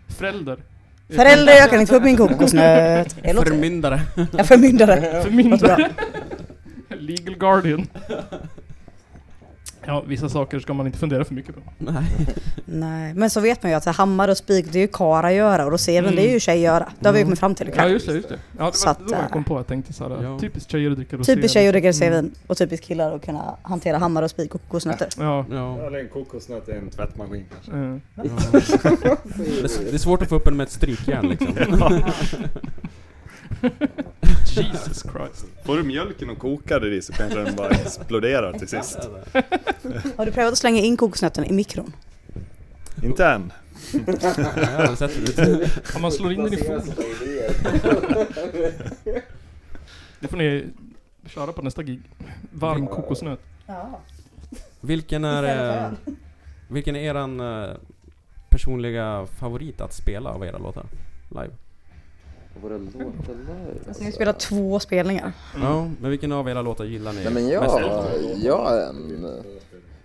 Förälder. Förälder, jag kan inte få upp min (laughs) kokosnöt. Det låter... Förmyndare. Jag (laughs) förmyndare. Förmyndare. Låter Legal guardian. Ja, vissa saker ska man inte fundera för mycket på. Nej. Nej, men så vet man ju att så här, hammare och spik, det är ju kar att göra och roséven Mm. det är ju tjej göra. Det har vi ju kommit fram till. Ja, just det. Just det. Ja, det Så var att, då jag eh, kom på. Jag tänkte så här, ja. typiskt tjejer att dricka rosé. Typiskt tjejer att dricka rosévin Mm. och typiskt killar att kunna hantera hammare och spik och (laughs) kokosnötter. Ja. Ja. Eller en kokosnöt i en tvättmaskin kanske. eh. (laughs) Ja. Det, är, det är svårt att få upp en med ett strykjärn (laughs) liksom. Jesus Christ. Får du mjölken och kokar det i så kanske den bara exploderar till sist. Har du prövat att slänga in kokosnötterna i mikron? Inte än. Jag har aldrig sett det. Om man slår in den i foten. Det får ni köra på nästa gig. Varm kokosnöt. Ja. Vilken är, eh, vilken är eran eh, personliga favorit att spela av era låtar? Live? Våra låtar live. Alltså, ni spelar två spelningar. Mm. Ja, men vilken av era låtar gillar ni Nej men jag, mest? jag är en...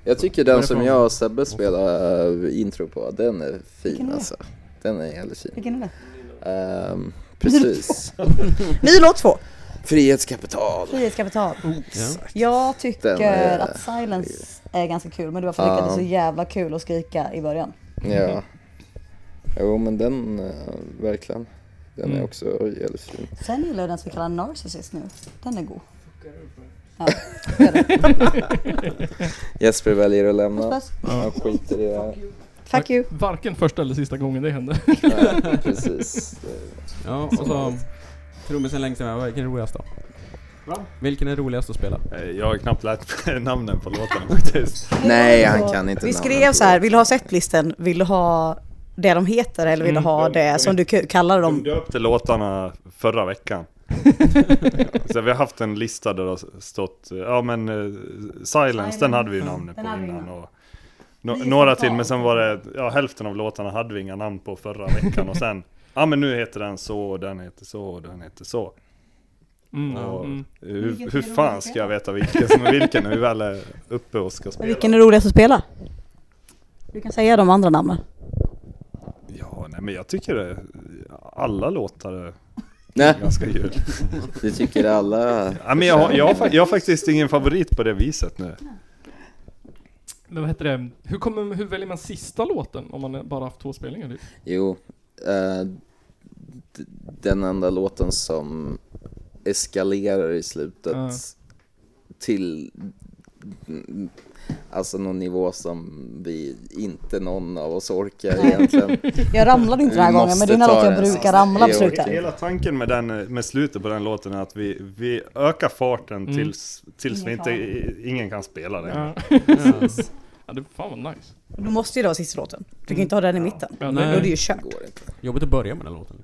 Jag tycker den som jag och Sebbe spelar eh, intro på, den är Vilken är fin det? alltså. Den är jävligt fin. Vilken är det? (laughs) Ehm, precis. Ny låt två! Frihetskapital. Frihetskapital. Ja. Jag tycker Oh, Den är- att Silence är ganska kul, men det var för att jag Ja. tycker att det är så jävla kul att skrika i början. Ja. Jo men den, eh, verkligen. Den Mm. är också jävligt fin. Sen gillar jag den som vi kallar Narcissist nu. Den är god. (laughs) Jesper väljer att lämna. Puss, puss. Han skiter i det (laughs) här. Fuck you. Varken första eller sista gången det hände. Nej, precis. Ja, och så trummisen längst med, vilken är roligast då? Vilken är roligast att spela? Eh, Jag har knappt lärt mig namnen på låtarna (laughs) faktiskt. Nej, han kan inte Vi namnen skrev på så här, vill du ha setlisten? Vill du ha det de heter eller vill du ha det som du k- De kallar dem? döpte låtarna förra veckan. Så vi har haft en lista där det har stått, eh, ja men eh, Silence, den hade vi ju namnet på Den hade vi innan. innan. Och no- några till, men sen var det, ja hälften av låtarna hade vi inga namn på förra veckan. Och sen, ja men nu heter den så, och den heter så, och den heter så. Mm. Och Mm. hur, hur fan ska jag veta vilken som är vilken när vi väl är uppe och ska spela? Vilken är roligast att spela? Du kan säga de andra namnen. Ja, nej men jag tycker det, alla låtar är Nej, ganska kul. det tycker alla. Ja, men jag, har- jag, har fa- jag har faktiskt ingen favorit på det viset nu. Men vad heter det? Hur, kommer, hur väljer man sista låten om man bara haft två spelningar? Typ? Jo, eh, d- den enda låten som eskalerar i slutet Ja. till mm, alltså någon nivå som vi inte någon av oss orkar egentligen. Jag ramlade inte den här Vi gången, men måste det är en ta låt jag den brukar sista. ramla på Jo, slutet. okej. Hela tanken med, den, med slutet på den låten är att vi, vi ökar farten tills, tills vi Ingen inte, i- ingen kan spela den. Ja. ja, det fan vad nice. Du måste ju då ha sista låten. Du kan ju inte ha den i mitten. Ja, Då det, är det Nej. ju Det kört. går inte. Jobbigt att börja med den här låten.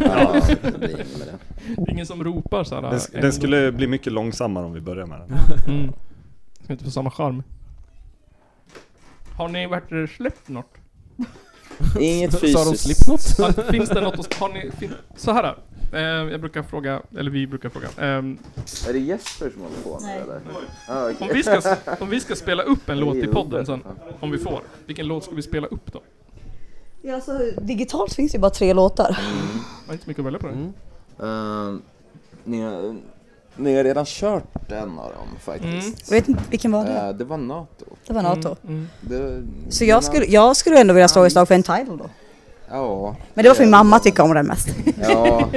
Ja, det blir inget med det. det är ingen som ropar så här. Den, en- den skulle bli mycket långsammare om vi börjar med den. Mm. Ska inte få samma charm. Har ni varit eh, släppt något? Inget Sa de fysiskt. Slipknot? Har- finns det något att... Har ni... Fin, så här. Eh, jag brukar fråga, eller vi brukar fråga. ehm, Är det Jesper som håller på nu eller? Ah, okej. om, vi ska, om vi ska spela upp en låt i podden sen, om vi får. Vilken låt ska vi spela upp då? Ja, alltså, digitalt finns ju bara tre låtar. Har inte så mycket att välja på det. Ehm, ni, har, ni har redan kört en av dem faktiskt. Jag vet inte, vilken var det? Eh, det var NATO. Det var Nato. Det, Mm. Så Mm. jag skulle, jag skulle ändå vilja slå ett slag för Entitled då. Ja. Men det var för min mamma tycker om den mest. Ja.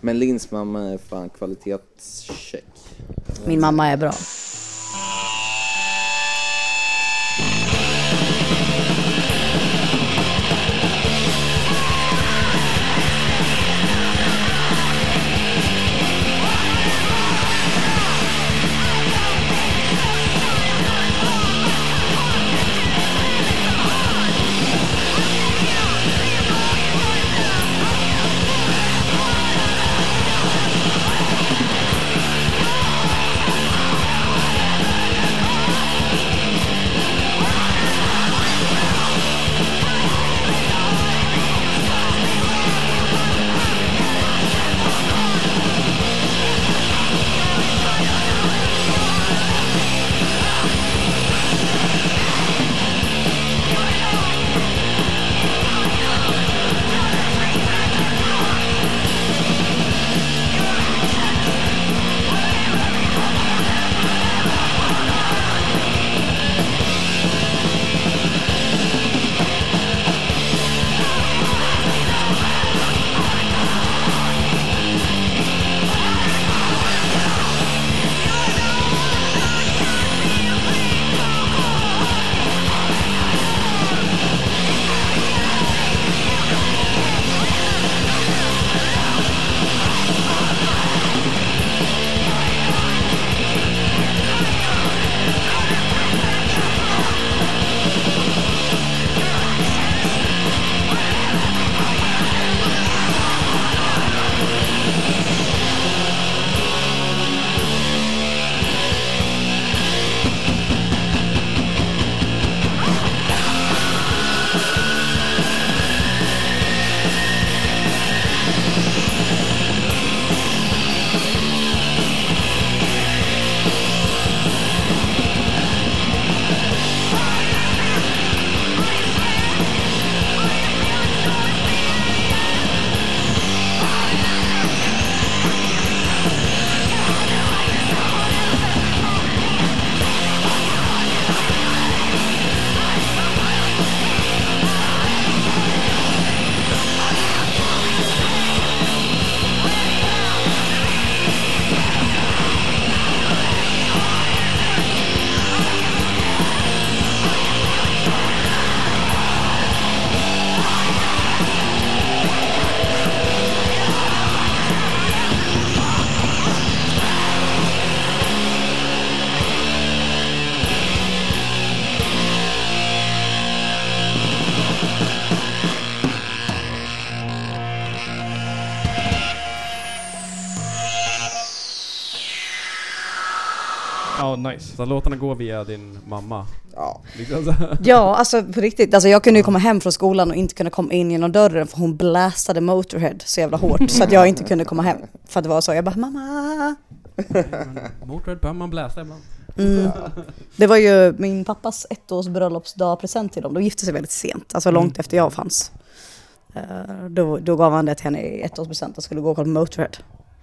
Men Lins mamma är fan kvalitetscheck. Min mamma är bra. Thank Ja, nice. Så låtarna går via din (laughs) mamma. Ja. Liksom så. här. Ja, alltså på riktigt. Alltså, jag kunde ju komma hem från skolan och inte kunna komma in genom dörren för hon blästade Motorhead så jävla hårt så att jag inte kunde komma hem. För att det var så, jag bara mamma. Motörhead behöver man blästa ibland. Mm. Det var ju min pappas ettårs bröllopsdagpresent till dem. De gifte sig väldigt sent, alltså långt efter jag fanns. Eh, Då, då gav han det till henne i ettårspresent och skulle gå och kolla på Motorhead.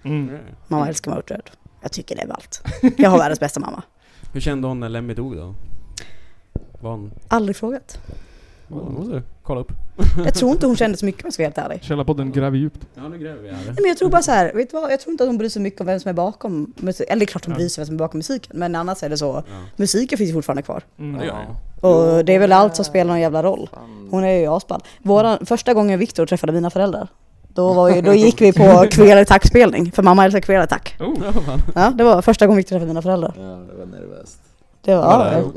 Mm. Mamma älskar Motörhead. Jag tycker det är allt. Jag har världens bästa mamma. Hur kände hon när Lemmy dog då? Var hon... Aldrig frågat. Oh, Mm. måste du kolla upp. Jag tror inte hon kände så mycket om jag ska vara helt ärlig. Källarpodden gräver djupt. Ja, nu gräver vi här. Nej, men jag tror bara så här, vet du vad? Jag tror inte att hon bryr sig mycket om vem som är bakom musiken. Eller det är klart hon bryr sig om vem som är bakom musiken, men annars är det så. Ja. Musiken finns ju fortfarande kvar. Mm. Ja, det gör jag ju. Och det är väl allt som spelar någon jävla roll. Hon är ju asball. Våran, första gången Viktor träffade mina föräldrar, då, var ju, då gick vi (laughs) på queer attack-spelning, för mamma älskar queer attack. Oh. Ja, det var första gången Viktor träffade mina föräldrar. Ja, det var nervöst. Det var, Ja, ja, Mm.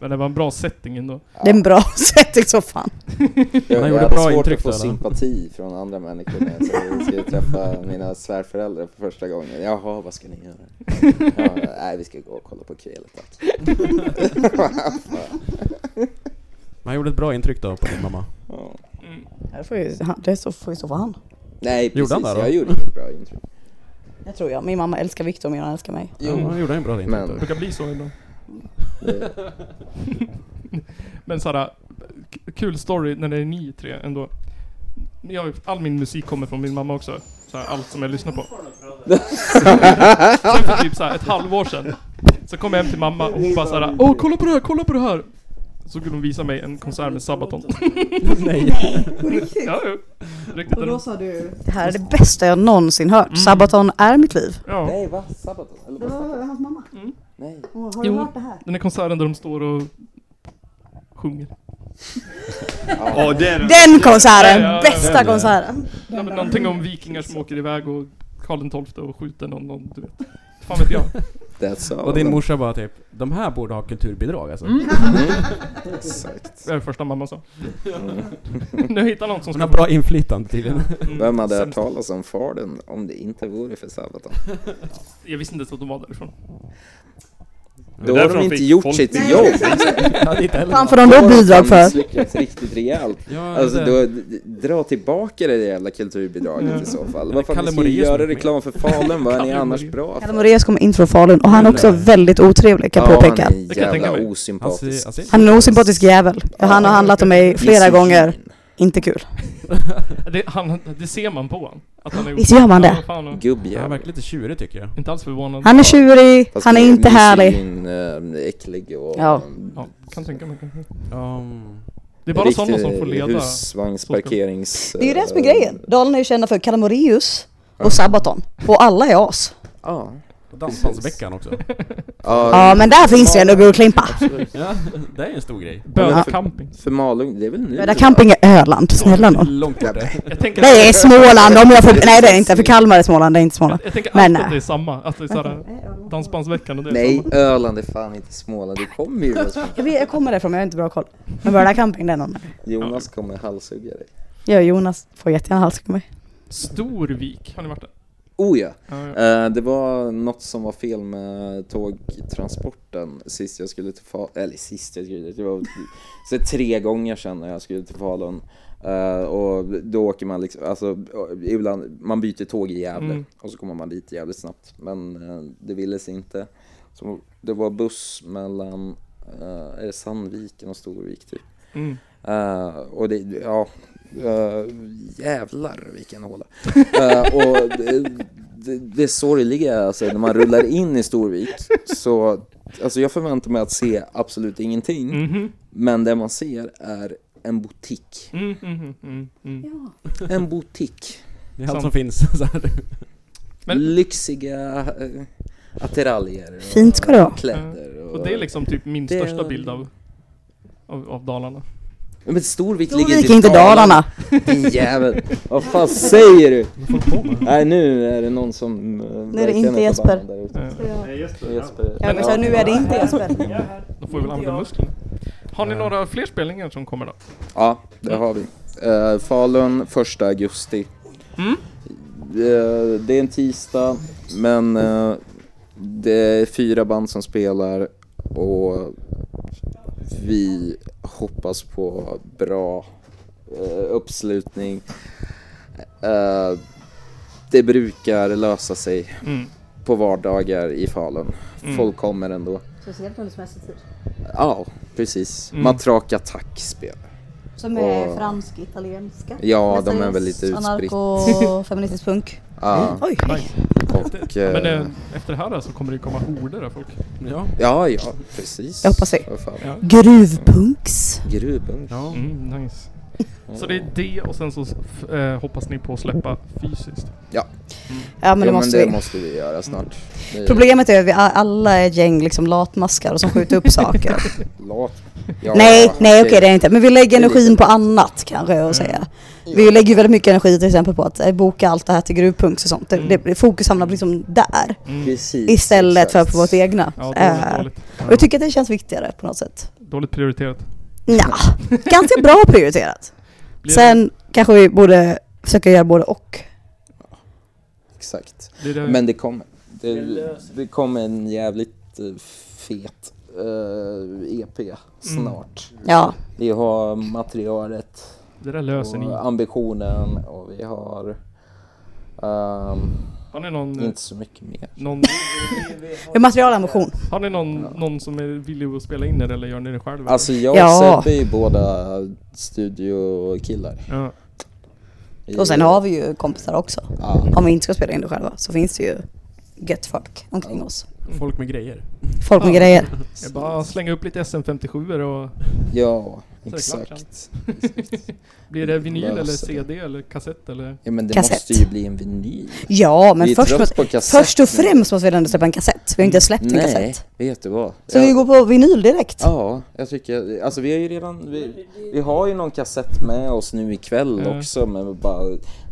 Men det var en bra setting ändå. det är en bra (laughs) setting som fan. Jag, Han jag gjorde hade bra svårt intryck att få då, eller? sympati från andra människor när jag sa att jag skulle träffa mina svärföräldrar för första gången. Jaha, vad ska ni göra? Ja, nej, vi ska gå och kolla på kväll, tack. Men Han gjorde ett bra intryck då på din mamma. Ja. Det får ju, han- det så- får ju så vara han. Nej, Gjorde precis. han det då? jag gjorde inget bra intryck. Jag tror jag. Min mamma älskar Viktor mer än han älskar (laughs) mig. Jo. Ja, Jo, han gjorde en bra intryck Men- då. Det brukar bli så ibland. det, Men Sara, k- kul story när det är ni tre ändå. Jag, all min musik kommer från min mamma också. Så här, allt som jag lyssnar på. Sen för typ så här, ett halvår sedan. Så kom jag hem till mamma och hon bara såhär Åh kolla på det här, kolla på det här! Så skulle hon visa mig en konsert med Sabaton. Nej. ja, jo. Riktigt. Och då sa du... Det här är det bästa jag någonsin hört. Sabaton är mitt liv. Ja. nej, va? Sabaton? Eller Det vad snackar var du om? hans mamma. Nej. Åh, har du Jo. hört det här? Den här konserten där de står och sjunger. Ja, det är den. Den Ja, ja, ja. konserten! Bästa konserten! Ja, men någonting om vikingar som åker iväg och Karl XII och skjuter någon, någon du vet. Fan vet jag. That's all. Och din morsa bara typ, de här borde ha kulturbidrag alltså. Mm. Mm. Exakt. Det är det första mamma sa. (laughs) nu hittar någon som Hon har bra inflytande tydligen. Mm. Vem hade hört Sämst. talas om Fardun om det inte vore för Sabaton? Jag visste inte ens att de var därifrån. Då har därför de de inte fick gjort folk- sitt Nej. jobb. Ja, inte heller. Fan får de då har fan bidrag för? misslyckats riktigt rejält. Ja, Alltså det- då, d- d- dra tillbaka det där jävla kulturbidraget i så fall. Vad fan, Kalle ni ska ju Moraeus var göra med. reklam för Falun, vad är ni Kalle annars Moraeus. bra Kalle för? Moraeus kommer in från Falun och han är också väldigt otrevlig kan jag Ja, han påpeka. är en Det kan jag tänka jävla mig. Han osympatisk. ser, han ser. Han är en osympatisk jävel. Han har handlat om mig flera Misogyn. gånger. Inte kul. Det, han, det ser man på han. Att han är Visst gör man Ja, det? fan, ja. Han Gubbjävel. verkar lite tjurig tycker jag. Inte alls förvånad. Han är tjurig, Fast han är inte misogyn, härlig. eh, Äcklig och... Ja. Ja, kan tänka mig. kanske. Um, Det är bara riktig sådana som får leda. husvagnsparkerings... Det är ju det som är eh, grejen. Dalarna är ju kända för Kalle Moraeus och Sabaton. Och alla är as. Ja. Dansbandsveckan också. Ja men där finns det ju ändå god klimpa. Ja, det är en stor grej. Bödercamping. För Malung, det är väl nu? Röda camping är Öland, snälla någon. Långt bort det. Jag tänker, Det är Småland om jag får... Nej det är inte, för Kalmar är Småland, det är inte Småland. jag tänker Men alltid att nej. det är samma. Att det är såhär Nej, Öland. dansbandsveckan och det är Nej, samma. Öland är fan inte Småland. Du kommer ju (laughs) från- Jag, vet, jag kommer därifrån men jag har inte bra koll. Men Röda camping det är någon. Jonas kommer halshugga dig. Jag och Jonas får jättegärna halshugga mig. Storvik, har ni varit där? Oh ja! Ja, ja. Eh, det var något som var fel med tågtransporten sist jag skulle till Falun, eller sist jag skulle, det var så tre gånger sedan när jag skulle till Falun. Eh, och då åker man liksom, alltså ibland, man byter tåg i Gävle Mm. och så kommer man dit jävligt snabbt. Men eh, det ville sig inte. Så det var buss mellan, eh, är det Sandviken och Storvik typ? Mm. Eh, och det, ja, eh, jävlar vilken håla. Eh, och det, det, det sorgliga är alltså när man rullar in i Storvik så, alltså jag förväntar mig att se absolut ingenting. Mhm. Men det man ser är en butik. Mm, mm, mm, mm, mm. En butik. Det är allt som Sant. finns. (laughs) Så här. Men- Lyxiga uh, attiraljer. och Fint ska det vara. Kläder. Och, Och det är liksom typ min Det- största bild av, av, av Dalarna. Men Storvik ligger Storvik inte är i inte Dalarna. Din jävel. Vad fan säger du? Nej nu är det någon som... eh, är det verkligen inte är Jesper. förbannad där ute. Eh, Nej, Jesper. Jesper. Jag vill säga, nu är det inte Jesper. De får väl använda musklerna. Har ni några fler spelningar som kommer då? Ja, det har vi. Eh, Falun 1 augusti. Mm. Eh, det är en tisdag, men eh, Det är fyra band som spelar och vi hoppas på bra eh, uppslutning. Eh, det brukar lösa sig Mm. på vardagar i Falun. Mm. Folk kommer ändå. Speciellt under semestertid. Ja, precis. Mm. Matraka Tack spelar. Som är Och- fransk, italienska. Ja, de är väl lite utspritt. Anarko, feministisk punk. Ja, (laughs) Oj, Nice. och, Mm. Men eh, det, efter det här så alltså kommer det komma horder av folk. Ja. ja, ja, precis. Jag hoppas det. Vad fan. Ja. gruvpunks. Gruvung. ja. Mm, nice. Så det är det och sen så f- eh, hoppas ni på att släppa fysiskt. Ja men det jo, måste men det vi. måste vi göra snart. Det är Problemet är att vi a- alla är ett gäng liksom latmaskar som (laughs) skjuter upp saker. Lat. Ja, nej, nej okej det det är inte. Men vi lägger Det är energin lite- på annat kanske Mm. jag säga. Vi lägger ju väldigt mycket energi till exempel på att eh, boka allt det här till gruvpunks och sånt. Det, Mm. det, fokus hamnar liksom där Mm. Precis. istället för exakt. på vårt egna. Ja, Eh, dåligt, dåligt. och jag tycker att det känns viktigare på något sätt. Dåligt prioriterat. (laughs) Nja, ganska bra prioriterat. Blir Sen kanske vi borde försöka göra både och. Exakt. det, blir det, Men det kommer. Det, Det löser. det kommer en jävligt eh, fet eh, Mm. EP snart. Ja, Vi har materialet det där löser ni. Mm. och ambitionen och vi har ehm, Har ni någon, inte så mycket mer. någon, med materialambition. har ni någon, någon som är villig att spela in det eller gör ni det själva? Alltså jag Ja. och Sebbe är ju båda studiokillar. ja. Vi- Och sen har vi ju kompisar också. Ja, Om vi inte ska spela in det själva så finns det ju gött folk omkring oss. Folk med grejer. Folk med Ja. grejer. Jag bara slänga upp lite SM57 och ja klart exakt. (laughs) blir det vinyl Löser eller det. CD eller kassett eller? Ja, men det Kassett. måste ju bli en vinyl. Ja, vi men är först, trött måste, på kassett först och nu. främst måste vi väl ändå släppa en kassett. Vi har inte släppt en Nej, kassett. vet du vad? Så Jag- vi går på vinyl direkt. Ja, jag tycker, alltså vi har ju redan, vi, vi har ju någon kassett med oss nu ikväll Ja. också men bara,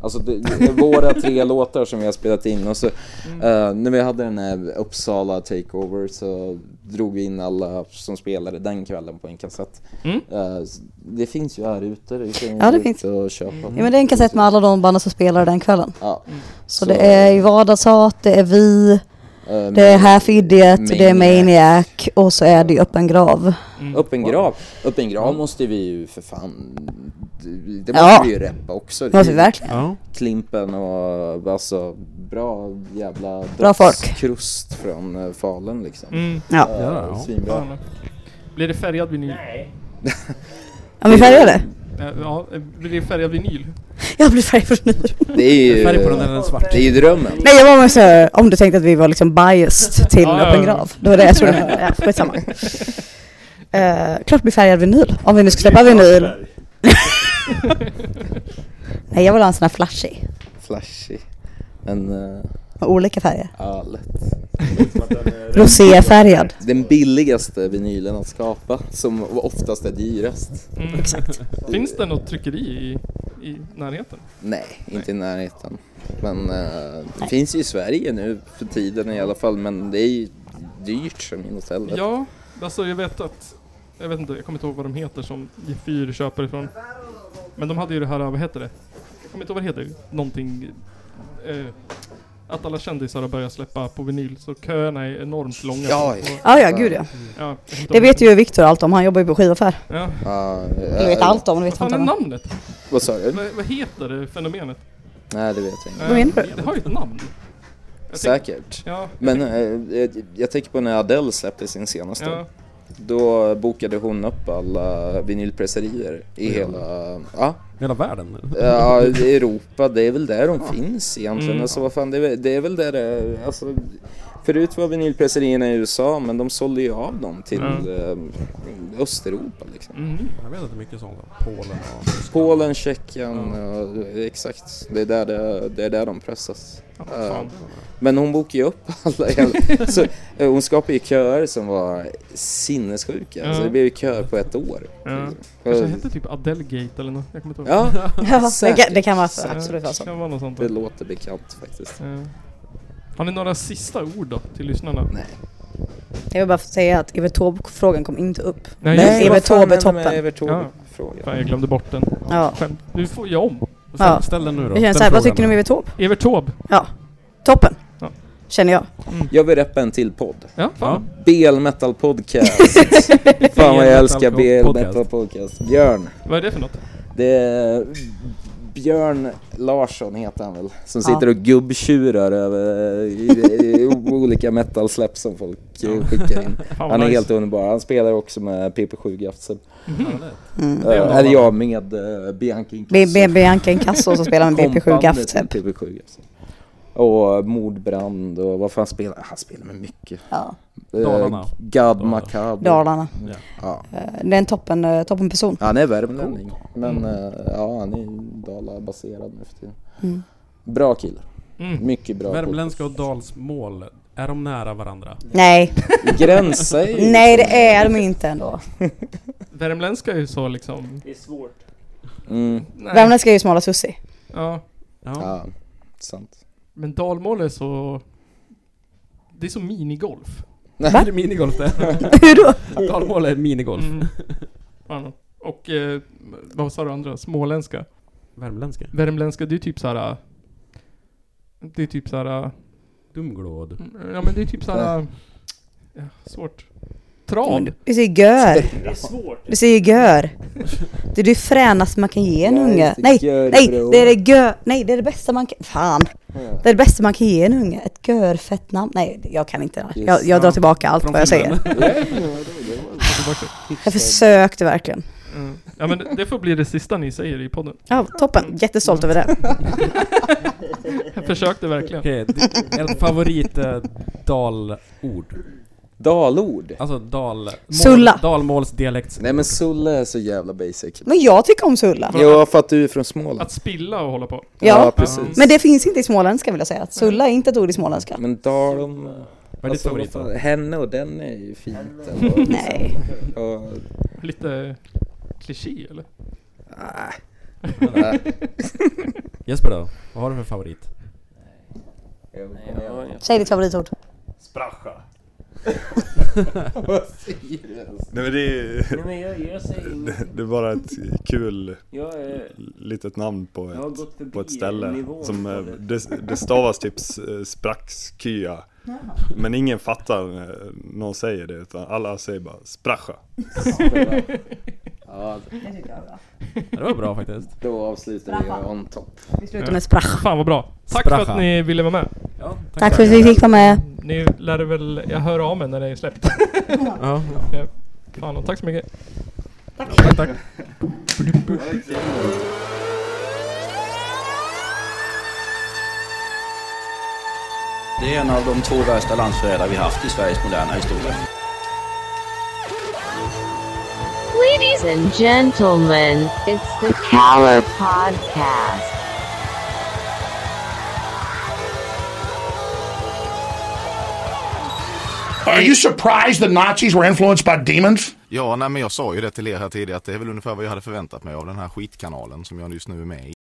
alltså det, det är våra (laughs) tre låtar som vi har spelat in och så Mm. eh, när vi hade den här Uppsala takeover så drog vi in alla som spelade den kvällen på en kassett. Mm. Eh, s- det finns ju här ute, det kan ju Ja, gå det ut finns. och köpa. Ja, men det är en kassett med alla de banden som spelar den kvällen. Ja, Så Så- det är ju Vardasat, det är vi, eh, det är Half Idiot, det är Maniac. Maniac och så är det ju Öppen Grav. Öppen grav, öppen grav måste vi ju för fan, det måste Ja. vi ju reppa också. Det måste vi verkligen. Ja. Klimpen och alltså bra jävla Bra folk. krust från eh, Falun liksom. Mm, Ja. Eh, Ja, ja. Svinbra. fan. Blir det färgad vinyl? Nej. Ja, men färgar det? Eh, Ja, eh, blir det färgad vinyl? Jag blir färg för nu. Det är ju, Färg på den eller en svart? det är ju drömmen. Nej, jag var med så här, om du tänkte att vi var liksom biased till Ja, ja, Öppen ja. Grav. Det var det jag trodde du menade. Ja, skitsamma. Uh, klart det blir färgad vinyl, om vi nu ska släppa vinyl. Nej, jag vill ha en sån här flashig. Flashy. Men eh, Med olika färger. ja, lätt. Roséfärgad. Den billigaste vinylen att skapa som oftast är dyrast. Mm. Exakt. Finns det något tryckeri i, i närheten? Nej, inte i närheten. Men eh, det finns ju i Sverige nu för tiden i alla fall men det är ju dyrt som inåt helvete. Ja, alltså jag vet att Jag vet inte, jag kommer inte ihåg vad de heter som G4 köper ifrån Men de hade ju det här, vad heter det? Jag kommer inte ihåg vad det heter, någonting eh, Att alla kändisar har börjat släppa på vinyl så köerna är enormt långa Ja, Och- Ja, ja, gud ja. ja, jag kommer inte Det ihåg vet ju Viktor allt om, han jobbar ju på skivaffär. Ja, Ja, Du eh, vet allt om, det vad vet fan inte är om. namnet? Vad sa du? Vad, vad heter det fenomenet? Nej det vet jag inte. Eh, Vad menar du? Det har ju ett namn Jag tänker- Säkert. Ja, Men eh, jag, jag tänker på när Adele släppte sin senaste. ja, Då bokade hon upp alla vinylpresserier i Ja. hela ja, Hela världen? eller? ja, i Europa. Det är väl där de finns egentligen. Mm. Alltså, vad fan, det, är, väl- det är väl där det alltså, Förut var vinylpresserierna i USA men de sålde ju av dem till Mm. eh, Östeuropa. Liksom. mm, Jag vet att det är mycket sånt. Polen och... Polen, Tjeckien, eh, exakt. Det är där, det, det är där de pressas. ja, Eh, fan. Men hon bokade ju upp alla (laughs) jävla... så, eh, hon skapade ju köer som var sinnessjuka. Ja. Alltså, det blev ju köer på ett år. Ja. Kanske Eh, hette typ Adelgate eller något, jag kommer inte ihåg Ja, Ja, det kan- det kan vara Säkert. absolut vara Det så. kan vara något sånt det låter bekant faktiskt. Ja. Har ni några sista ord då till lyssnarna? Nej. Jag vill bara säga att Evert Taube-frågan kom inte upp. Nej, Nej, just det. Evert vad fan Taube hände med toppen. Evert Ja. Taube-frågan? Fan, jag glömde bort den. Ja. Skämt. Nu får jag om. Ställ, Ja. ställ den nu då. Jag känner Ställ såhär, vad frågan tycker ni om nu. Evert Taube? Evert Taube. Toppen! Ja. känner jag. Jag vill reppa en till podd. Ja, fan. BL Metal (laughs) Podcast. Fan vad jag älskar Metal BL Podcast. Metal Podcast. Björn. Vad är det för något? Det är Björn Larsson heter han väl? Som Ja. sitter och gubbtjurar över i, i, olika metalsläpp som folk eh, skickar in. Fan, vad Han är nice. helt underbar. Han spelar också med PP7 Gafsel. Mm. Eh, Eller jag med eh, Bianca B- Inkasso. B- Bianca Inkasso som spelar med BP7 Kombandet Gaffseb. med PP7 E. Gafsel. Och Mordbrand och vad fan spelar han? Han spelar med mycket. Ja, Eh, Dalarna. Gad Dalarna. Macabre. Dalarna. Ja. Eh, Det är en toppen, eh, toppen person. Han är värmlänning. Mm. Men eh, ja, han är Dala-baserad nu för tiden. Mm. Bra kille. Mm. Mycket bra. Värmländska och dalsmål, är de nära varandra? Nej, podcast. (laughs) Gränsa är ju- liksom- nej det är de inte ändå. Värmländska är ju så liksom... Det är svårt. Mm, Nej. Värmländska är ju smala sussi. Ja. Ja. ja, sant. Men dalmål är så... Det är som minigolf. (laughs) Är det minigolf det? Hur då? Dalmål är minigolf. Mm. Fan. Och eh, vad sa du andra? Småländska? Värmländska. Värmländska, det är typ såhär... äh, Det är typ såhär... äh, Dumglåd. Ja men det är typ såhär... äh, Ja, svårt. Trav? Du säger gör. Det är svårt. Du säger gör. Det är det fränaste man kan ge en unge. Nej, nej, (laughs) det är det gör. Nej, det är det bästa man kan... Fan. Det är det bästa man kan ge en unge. Ett görfett namn. Nej, jag kan inte. Jag, jag drar tillbaka allt vad jag säger. Jag försökte verkligen. Mm. Ja men det får bli det sista ni säger i podden. Ja, toppen. Jättestolt över det. Jag försökte verkligen. Okej, det- ert favorit eh, dalord? Dalord. Alltså dal... mål- Sulla. Dalmålsdialekt. Nej men Sulle är så jävla basic. Men jag tycker om Sulla. Ja, för att du är från Småland. Att spilla och hålla på. Ja. precis. Men det finns inte i småländska vill jag säga. Sulla är inte ett ord i småländska. Men Dalom... Vad är ditt favorit då? Henne och den är ju fint alltså. ändå. Nej. Och, Lite kliché eller? Jesper då? Vad har du för favorit? Ja, ja. Säg ditt favoritord. Spracha. vad säger du ens? Nej men det är, Nej men jag, jag säger inget. det är bara ett kul Jag, är- litet namn på jag har gått förbi ett, på ett ställe. nivån Som, på eh, det. det, det stavas typ s- eh, spraxkya. Men ingen fattar när någon säger det utan alla säger bara spracha. Ja, Ja, Det var bra faktiskt. då avslutar vi on top. Vi slutar med sprach. Fan vad bra. Tack för Spracha. att ni ville vara med. Ja, Tack för att vi fick vara med. Ni lär väl... Jag hör av mig när det är släppt. Ja, Fan och tack så mycket. tack, tack. Det är en av de två värsta landsförrädare vi haft i Sveriges moderna historia. Ladies and gentlemen, it's the Caller Podcast. Are you surprised the Nazis were influenced by demons? Ja, nej, men jag sa ju det till er här tidigare att det är väl ungefär vad jag hade förväntat mig av den här skitkanalen som jag just nu är med i.